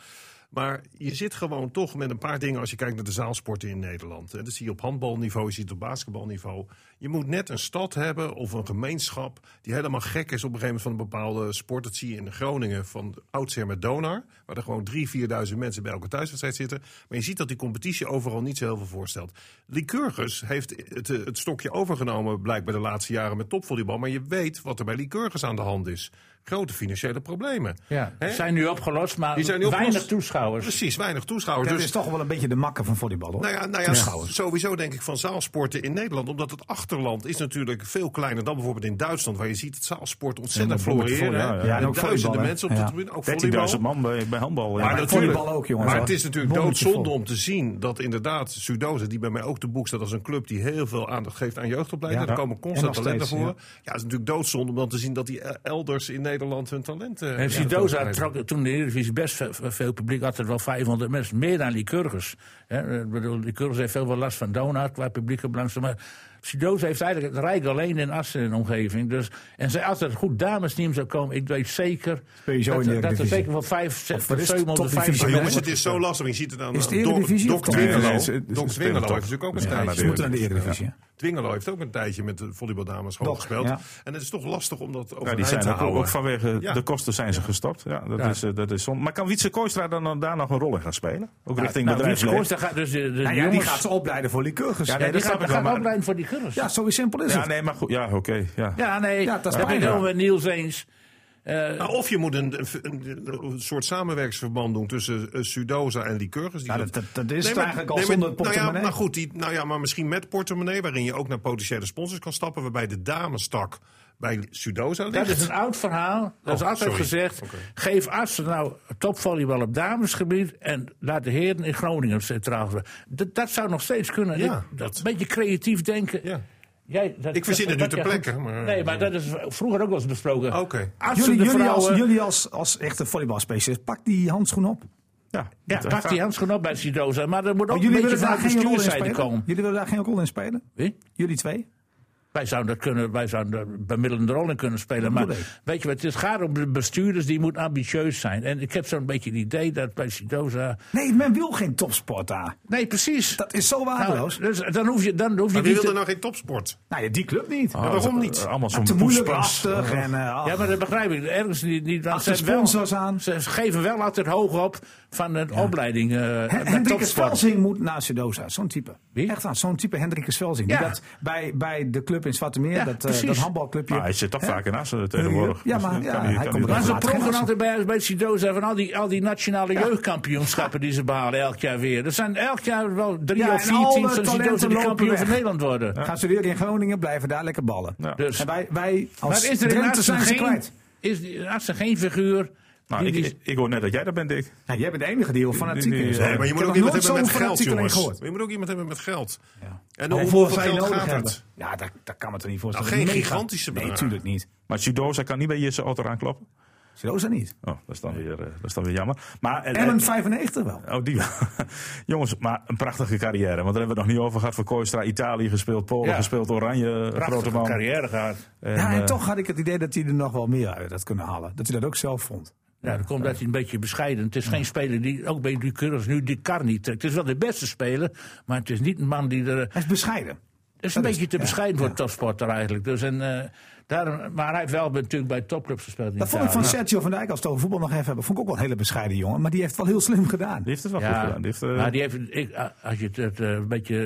D: Maar je zit gewoon toch met een paar dingen als je kijkt naar de zaalsporten in Nederland. En Dat zie je op handbalniveau, je ziet het op basketbalniveau. Je moet net een stad hebben of een gemeenschap die helemaal gek is op een gegeven moment van een bepaalde sport. Dat zie je in Groningen van oudsher met Donar. Waar er gewoon 3.000, 4.000 mensen bij elke thuiswedstrijd zitten. Maar je ziet dat die competitie overal niet zo heel veel voorstelt. Lycurgus heeft het, eh, het stokje overgenomen blijkbaar de laatste jaren met topvolleybal. Maar je weet wat er bij Lycurgus aan de hand is. Grote financiële problemen.
E: Ja.
D: Hè?
E: Die zijn nu opgelost, maar
D: Die zijn nu opgelost.
E: weinig toeschouwers.
D: Precies, weinig toeschouwers.
C: Dat
D: dus
C: is toch wel een beetje de makker van volleybal, hoor.
D: nou ja, nou ja s- sowieso denk ik van zaalsporten in Nederland. Omdat het achterland is natuurlijk veel kleiner dan bijvoorbeeld in Duitsland. Waar je ziet het zaalsport ontzettend
B: Ja, maar bijvoorbeeld
D: floreren.
B: voor- ja, ja.
D: hè.
C: Ja, en ook
D: duizenden
C: volleybal, hè.
D: mensen op de
C: Ja.
D: tribune. Ook
B: 13.000
D: volleybal.
B: man bij, bij handbal. ja.
D: Maar,
C: bij
D: natuurlijk-
C: volleybal ook, jongens,
D: maar
C: hoor.
D: het is natuurlijk
C: Wondertje
D: doodzonde
C: vol.
D: om te zien dat inderdaad Sudoza, die bij mij ook de boek staat als een club die heel veel aandacht geeft aan jeugdopleiding.
C: Ja,
D: daar
C: ja.
D: komen
C: En
D: constant
C: nog
D: talenten voor.
C: steeds,
D: Ja. het is natuurlijk doodzonde om dan te zien dat die eh, elders in Nederland hun talenten.
E: En Sidoza trok toen de Eredivisie best ve- ve- veel publiek, had er wel 500 mensen, meer dan Lycurgus. Hè, Ik bedoel, Lycurgus heeft veel wel last van Donar qua publieke belangstelling. Maar Sidoza heeft eigenlijk het rijk alleen in Assen en omgeving. Dus, en zij- als er een goed damesteam zou komen, ik weet zeker
C: Speel je zo
E: dat,
C: in de
E: dat er
C: Eredivisie.
E: zeker wel 5,
C: Of wat is
E: 700,
C: het? Topdivisie,
D: Maar
E: 500
D: jongens,
E: mensen.
D: het is zo lastig. want Je ziet het aan eh,
C: Is het de
D: Doc-
C: Eredivisie of
D: Doc
C: toch?
D: Dwingelo.
B: Nee, nee, ze- ze
D: Doc
B: spelen
D: Dwingelo
B: toch?
D: heeft natuurlijk ook een
B: Ja,
D: tijdje.
B: maar
C: Ze moeten naar de Eredivisie. hè.
D: Dwingelo heeft ook een tijdje met de volleybaldames gewoon
C: Doc,
D: gespeeld.
C: ja.
D: En het is toch lastig om dat
B: Ja,
D: overeind
B: die zijn
D: te
B: ook,
D: houden.
B: ook vanwege
D: Ja.
B: de kosten zijn ze gestapt. Ja, dat,
E: Ja.
B: Is, eh, dat is zonde. Maar kan Wietse Kooistra dan, dan daar nog een rol in gaan spelen? Ook richting
E: Nou, Wietse
B: bedrijfsleven?
E: Kooster gaat dus de, de
C: Nou ja,
E: jongens...
C: die gaat ze opleiden voor Lycurgus.
B: Ja,
C: Ja,
B: nee,
E: die
B: dat snap
E: gaat,
B: ik wel,
E: gaat
B: maar-
E: opleiden voor die Curgus.
C: zo simpel is
B: Ja,
C: het.
B: nee, maar goed. Ja, oké. ja.
E: Ja, nee,
C: Ja, dat is
E: heb
C: waar,
E: ik
C: ja.
E: wel met Niels eens.
D: Nou, of je moet een, een, een- een soort samenwerksverband doen tussen eh, Sudoza en Lycurgus. Die
C: Nou, dat- dat- dat is het eigenlijk al zonder het
D: Nou
C: portemonnee.
D: ja, maar goed, die, nou ja, maar misschien met portemonnee, waarin je ook naar potentiële sponsors kan stappen, waarbij de damestak bij Sudoza ligt.
E: Dat is een oud verhaal. Dat is
D: Oh,
E: altijd
D: sorry.
E: gezegd.
D: Oké.
E: Geef Assen nou topvolleybal op damesgebied. En laat de heren in Groningen centraal staan. Dat, dat zou nog steeds kunnen.
D: Ja,
E: Ik-
D: dat-
E: Een beetje creatief denken.
D: Ja.
E: Jij, dat,
D: Ik verzin
E: dat-
D: het nu
E: dat-
D: ter
E: ja,
D: plekke,
E: goed.
D: maar-
E: nee, maar dat is vroeger ook wel eens besproken.
D: Oké.
E: Assen
C: Jullie,
E: de
C: jullie,
E: vrouwen.
C: als, jullie als, als echte volleybalspecialist, pak die handschoen op.
B: Ja,
E: ja,
B: dat-
E: pak die handschoen op bij Sidoza. Maar er moet ook
C: Oh,
E: Oh, een
C: jullie
E: beetje
C: willen daar
E: vanuit
C: geen rol in
E: bestuurszijde
C: spelen?
E: komen.
C: Jullie willen daar geen rol in spelen?
E: Wie?
C: Jullie twee?
E: Wij zouden, dat kunnen, wij zouden daar bemiddelende rol in kunnen spelen. Maar
C: bedoel ik.
E: weet je wat, het gaat om de bestuurders, die moeten ambitieus zijn. En ik heb zo'n beetje het idee dat bij Sidoza...
C: Nee, men wil geen topsport daar.
E: Nee, precies.
C: Dat is zo
E: Nou,
C: waardeloos. Nou,
E: dus dan hoef je, dan hoef je
D: maar wie
E: niet
D: wil er
E: te-
D: nou geen topsport?
C: ja, die club niet.
E: Ah,
B: Oh,
D: waarom
B: dat-
D: niet?
B: eh, Allemaal
C: te
B: zo'n
C: moeilijk,
B: poespas.
C: lastig. En, eh,
B: nou-
C: ach.
E: Ja, maar dat begrijp ik. Ergens niet. niet want
C: Achter
E: ze hebben wel-
C: sponsors aan.
E: Ze geven wel altijd hoog op van een opleiding. eh
C: Hen-
E: met
C: Hendrikus
E: topsport.
C: Velsing moet naar Sudoza. Zo'n type.
E: Wie?
C: Echt aan, zo'n type Hendrikus Velsing.
E: Ja.
C: Die dat bij, bij de club in Zwarte Meer,
E: Ja,
C: dat, eh,
E: precies.
C: dat handbalclubje.
B: Maar hij zit toch
C: Hè?
B: vaak in Assen tegenwoordig.
C: Ja, maar-
B: Dus dan
C: ja,
B: kan
C: hij
B: kan
C: komt
E: Maar
C: er
E: ze
C: Laat geen
E: pronken
C: assen.
E: altijd bij, bij Sidoza van al die, al die nationale jeugdkampioenschappen die ze behalen elk jaar weer. Er zijn elk jaar wel drie
C: Ja, en
E: of vier
C: alle
E: teams van Sidoza
C: talenten
E: die
C: lopen
E: kampioen
C: weg.
E: van Nederland worden.
C: Gaan studeren in Groningen, blijven daar lekker ballen.
B: Ja.
E: Dus.
C: En wij, wij als
E: Maar is er in
C: Drenthe
E: Assen
C: zijn ze
E: geen,
C: kwijt.
E: is in Assen geen figuur
B: Nou,
E: die,
B: ik,
E: die-
B: ik- ik hoor net dat jij daar bent, Dick.
C: Ja, Nou, jij bent de enige die heel fanatiek
B: Nee,
C: is.
B: nee,
D: Nee, maar je
C: Ik
D: moet
C: heb
D: ook
C: nog
D: iemand
C: nooit
D: hebben met
C: zo'n
D: geld,
C: fanatiekeling
D: jongens.
C: gehoord.
D: Maar Je moet ook iemand hebben met geld. En
C: En
D: om
C: hoeveel
D: hoeveel
C: zij
D: geld
C: nodig
D: gaat
C: hebben.
D: het?
C: Ja, dat, dat kan me toch niet voorstellen.
D: Nou, geen
C: Mega.
D: gigantische
C: Nee,
D: bedragen.
C: natuurlijk niet.
B: Maar Sudoza kan niet bij Jesse Otter aankloppen.
C: Sudoza niet.
B: Oh, dat is dan weer, eh, dat is dan weer jammer. Maar, en-
C: Ellen 95 wel.
B: Oh, die. <laughs> Jongens, maar een prachtige carrière. Want daar hebben we het nog niet over gehad. Voor Kooistra, Italië gespeeld, Polen
E: Ja.
B: gespeeld, Oranje, grote
E: prachtige
B: man.
E: carrière gaat.
B: En,
C: Ja, en
B: eh,
C: toch had ik het idee dat hij er nog wel meer uit had kunnen halen. Dat hij dat ook zelf vond.
E: Nou, dat komt dat hij een beetje bescheiden. Het is geen speler die, ook bij Ducurus nu die kar niet trekt. Het is wel de beste speler, maar het is niet een man die er...
C: Hij is bescheiden.
E: Het is een
C: Dat is-
E: beetje te
C: ja,
E: bescheiden voor
C: ja.
E: een topsporter eigenlijk. Dus en, eh, daarom, maar hij heeft wel natuurlijk bij topclubs gespeeld. in
C: Dat vond ik van
E: Italië.
D: nou.
C: Sergio van Dijk, als we het over voetbal nog even hebben, vond ik ook wel een hele bescheiden jongen. Maar die heeft het wel heel slim gedaan.
B: Die heeft het wel goed gedaan. Die heeft, eh,
E: maar Nou, die heeft, ik, a- als je het, het, eh, een beetje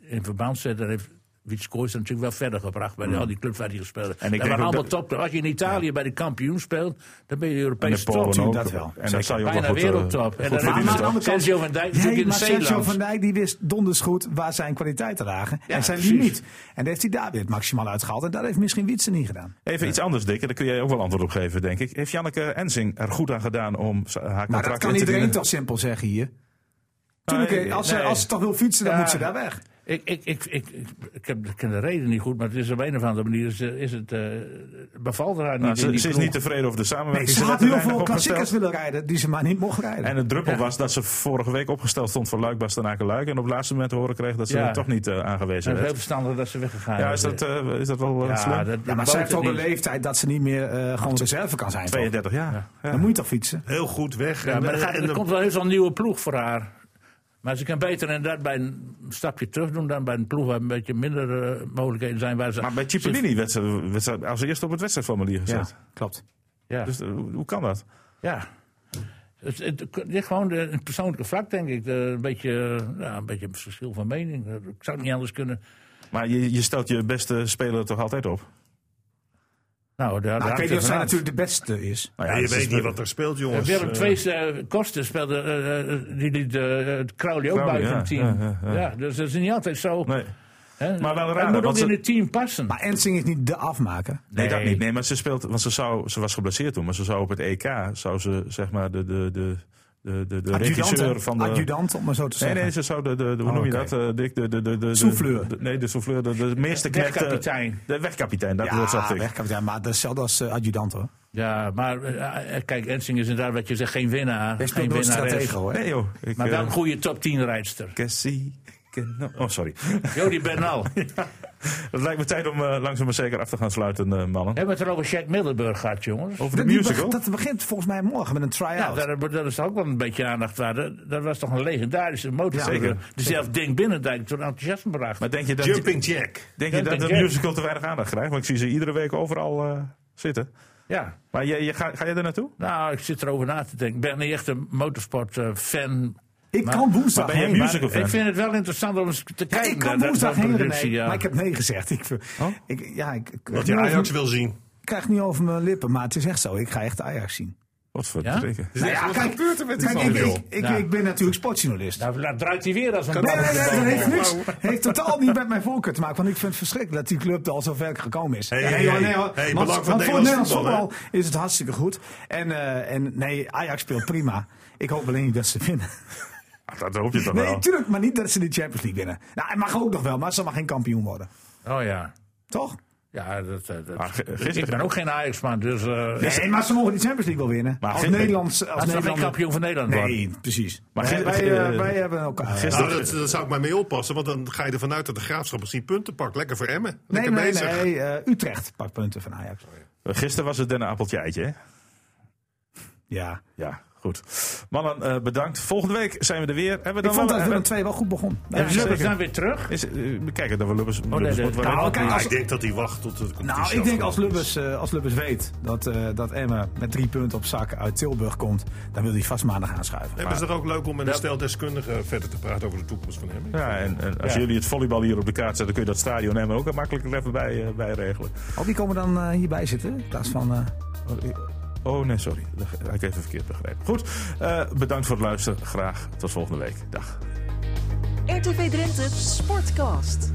E: in verband zet, dan heeft Wits Kooijs het natuurlijk wel verder gebracht bij al die clubs waar hij gespeeld heeft.
B: En ik
E: En
B: denk
E: ik waren
B: ook
E: allemaal
B: dat-
E: topclubs. Als je in Italië bij de kampioen speelt, dan ben je
B: en de
E: Europese
B: Polen
E: top.
C: natuurlijk
B: ook.
C: dat wel.
B: En dan zou je ook wel
E: Bijna
B: goed, eh,
E: wereldtop. En
B: goed
E: dan heb je
B: verdienen.
C: maar aan de
E: nog
C: andere kant-
E: Sergio van Dijk natuurlijk
C: Nee,
E: in
C: maar
E: het
C: Sergio
E: Zeeland.
C: van Dijk die wist donders goed waar zijn kwaliteiten lagen.
E: Ja,
C: en zijn
E: precies.
C: limiet. En daar heeft hij daar weer het maximaal uitgehaald. En dat heeft misschien Wietse niet gedaan.
B: Even iets anders, Dick. En daar kun jij ook wel antwoord op geven, denk ik. Heeft Janneke Enzing er goed aan gedaan om z- haar
C: Maar
B: contract
C: dat kan
B: in te
C: iedereen
B: dienen?
C: toch simpel zeggen hier.
B: Nee,
C: Tuurlijk, eh, als, ze,
E: nee.
C: als ze toch wil fietsen, dan
E: Ja.
C: moet ze daar weg.
E: Ik, ik, ik, ik, ik, ik heb, ik ken de reden niet goed, maar het is op een of andere manier is, eh, is het, eh, bevalt er haar niet
B: Nou,
E: in
B: ze,
E: die
B: ze is
E: ploeg.
B: niet tevreden over de
C: Nee,
B: samenwerking.
C: ze
B: werd
C: had
B: er
C: heel
B: weinig
C: veel
B: op
C: klassiekers
B: gesteld.
C: willen rijden die ze maar niet mocht rijden.
B: En het druppel
E: Ja.
B: was dat ze vorige week opgesteld stond voor Luik Bastenaken Luik. En op het laatste moment te horen kreeg dat ze
E: Ja.
B: er toch niet eh,
E: Het
B: aangewezen
E: is heel
B: werd.
E: verstandig dat ze weggegaan
B: Ja, is
E: is.
B: dat, eh, is dat wel eh, slim?
E: ja, dat,
C: ja, maar
E: dat
C: zij
E: bood
C: heeft ook
E: het
C: een
E: niet.
C: leeftijd dat ze niet meer eh, gewoon reserve kan zijn. toch?
B: 32 jaar. Ja.
C: Dan moet je toch fietsen.
D: Heel goed weg.
E: Ja,
D: En,
E: maar er,
D: eh,
E: gaat-
D: en
E: er
D: de-
E: komt wel heel veel nieuwe ploeg voor haar. Maar ze kan beter inderdaad bij een stapje terug doen dan bij een ploeg waar een beetje minder eh, mogelijkheden zijn. Waar ze,
B: Maar bij Cipollini werd ze, werd ze als eerste op het wedstrijdformulier gezet.
C: klopt.
E: Ja,
B: Dus eh, hoe hoe kan dat?
E: ja. Het, het, het ligt gewoon de, het persoonlijke vlak, denk ik. De- een, beetje, eh, ja, een beetje een verschil van mening. Eh, Ik zou het niet anders kunnen.
B: Maar je, je stelt je beste speler toch altijd op?
E: Nou, daar,
C: Nou,
E: daar
C: ik weet niet
E: hangt het
C: of zij
E: vanaf.
C: natuurlijk de beste is.
B: Nou
D: Ja,
B: ja,
D: je
B: het is
D: weet niet
B: wel-
D: wat er speelt, jongens.
E: Willem
D: Eh,
E: II eh, Kosten speelde, eh, eh, die liet eh, het Crowley ook
B: Crowley,
E: buiten
B: ja,
E: het team.
B: ja,
E: Ja,
B: ja,
E: dus dat is niet altijd zo.
B: Nee.
E: hè.
B: Maar wel raar,
E: Hij moet
B: want
E: ook
B: ze-
E: in het team passen.
C: Maar Ensing is niet de afmaker.
B: Nee, dat
E: Nee.
B: niet. Nee, maar ze speelt. Want ze, zou, ze was geblesseerd toen, maar ze zou op het EK. zou ze zeg maar de, de, de, de, de, de
C: Adjudant, hè?
B: regisseur van de.
C: Adjudant, om maar zo te
B: Nee,
C: zeggen.
B: nee, ze zou de. de, de hoe
C: Oh,
B: noem je
C: oké.
B: dat? eh, Dick, de, de, de, de, de
C: Souffleur.
B: de- nee, de souffleur. De, de meeste knecht. eh,
E: Wegkapitein.
B: De wegkapitein, dat dat
C: ja,
B: zag ik.
C: wegkapitein, maar dat is hetzelfde als eh, adjudant hoor.
E: Ja, maar eh, eh, kijk, Ensing is inderdaad wat je zegt, geen winnaar.
C: Hij
E: geen
C: speelt nooit
E: winnaar.
C: stratego hoor.
B: Nee, joh. Ik,
E: Maar wel
B: eh,
E: een goede top 10 rijdster.
B: Cassie. Ken- Oh, sorry. <laughs>
E: Jody Bernal.
B: Het lijkt me tijd om eh, langzaam maar zeker af te gaan sluiten, eh, mannen.
E: Hebben we het er over Jack Middelburg gehad, jongens?
B: Over de
C: Die
B: musical.
C: beg- Dat begint volgens mij morgen met een
E: Ja,
C: try-out.
B: nou.
E: daar, daar is ook wel een beetje aandacht waar. Dat, dat was toch een legendarische motorrijder.
B: Ja, zeker.
E: die zelf Ding Binnendijk tot enthousiasme bracht.
B: Maar denk je dat,
D: Jumping Jack.
B: denk je dat
E: Jumping
B: de
E: Jack.
B: musical te weinig aandacht krijgt? Want ik zie ze iedere week overal eh, zitten.
E: ja.
B: Maar je, je, ga, ga je er naartoe?
E: Nou, ik zit erover na te denken. Ik ben niet echt een eh, motorsport-fan.
C: ik kan woensdag
B: maar ben jij
C: heen.
B: musical fan?
E: ik vind het wel interessant om eens te
C: Ja,
E: kijken.
C: ik
E: naar
C: kan
E: dat-
C: woensdag
E: dat
C: heen, René.
E: productie, ja.
C: Maar ik heb nee gezegd. Ik,
B: Oh?
C: ik, ja, ik, ik,
D: Wat
C: krijg
D: je
C: niet
D: Ajax
C: over-
D: wil zien.
C: ik krijg niet over mijn lippen, maar het is echt zo. Ik ga echt Ajax zien.
B: Wat voor
E: Ja?
B: drinken?
D: Dus echt, wat gebeurt er met die
C: Nou Kijk,
D: man,
C: ik,
D: joh?
C: ik, ik,
E: Ja.
C: ik ben natuurlijk sportjournalist.
E: Nou, nou, draait hij weer als een
C: Nee,
E: bal.
C: nee, nee, dat heeft niks. Heeft totaal niet met mijn voorkeur te maken. Want ik vind het verschrikkelijk dat die club er al zo ver gekomen is.
D: Hey,
C: Ja,
D: hey,
C: joh,
D: hey.
C: hoor. want,
D: Hey, belang van
C: want voor
D: Nederlands
C: Nederlands
D: voetbal,
C: voetbal is het hartstikke goed. En, eh, en nee, Ajax speelt prima. Ik hoop alleen niet dat ze winnen.
B: Ah, dat hoop je toch
C: Nee,
B: wel?
C: tuurlijk, maar niet dat ze de Champions League winnen. Nou, het mag ook nog wel, maar ze mag geen kampioen worden.
E: Oh ja.
C: Toch?
E: Ja, dat, eh, dat, dat-
B: Maar g- gisteren-
E: ik ben ook geen Ajax-man, dus... eh,
C: Nee, maar ze mogen die Champions League wel winnen.
B: Maar
C: als
B: gisteren-
C: Nederlands... Als
E: Als hij geen
C: Nederland...
E: kampioen van Nederland wordt.
C: Nee, precies.
B: Maar
C: Maar
B: gisteren-
C: wij, eh,
B: eh,
C: wij hebben elkaar. eh,
B: gisteren-
D: Nou, dat, dat zou ik maar mee oppassen, want dan ga je ervan uit dat de graafschap misschien punten pakt. Lekker voor Emmen.
C: Nee,
D: Lekker
C: nee,
D: bezig.
C: nee. eh, Utrecht pakt punten van Ajax.
B: Gisteren was het een appeltje eitje, hè?
C: Ja.
B: Ja, goed. Mannen, eh, bedankt. Volgende week zijn we er weer. Hebben we dan
C: Ik vond
B: wel-
C: dat Willem
B: hebben-
C: 2 wel goed begon.
E: En
B: Ja,
E: Lubbers
B: zeker.
E: dan weer terug?
B: is, eh, we kijken dat we Lubbers...
E: nee,
B: Lubbers
E: nee.
B: wordt wel-
C: Nou, kijk,
D: Maar
C: als,
D: ik denk dat hij wacht tot het competitie
C: nou, ik denk als
D: afgelopen is.
C: Lubbers, eh, als Lubbers weet dat, eh dat Emma met drie punten op zak uit Tilburg komt, dan wil hij vast maandag aanschuiven.
D: Nee, maar het is toch ook leuk om met een stel deskundigen verder te praten over de toekomst van Emmen?
B: ja, en, en als
E: Ja.
B: jullie het volleybal hier op de kaart zetten, kun je dat stadion hem ook makkelijk er even bij, eh, bij regelen.
C: Oh, die komen dan eh, hierbij zitten? In plaats van. eh,
B: Oh nee, sorry. Dat heb ik even verkeerd begrepen. Goed, eh, bedankt voor het luisteren. Graag tot volgende week. Dag.
A: RTV Drenthe Sportcast.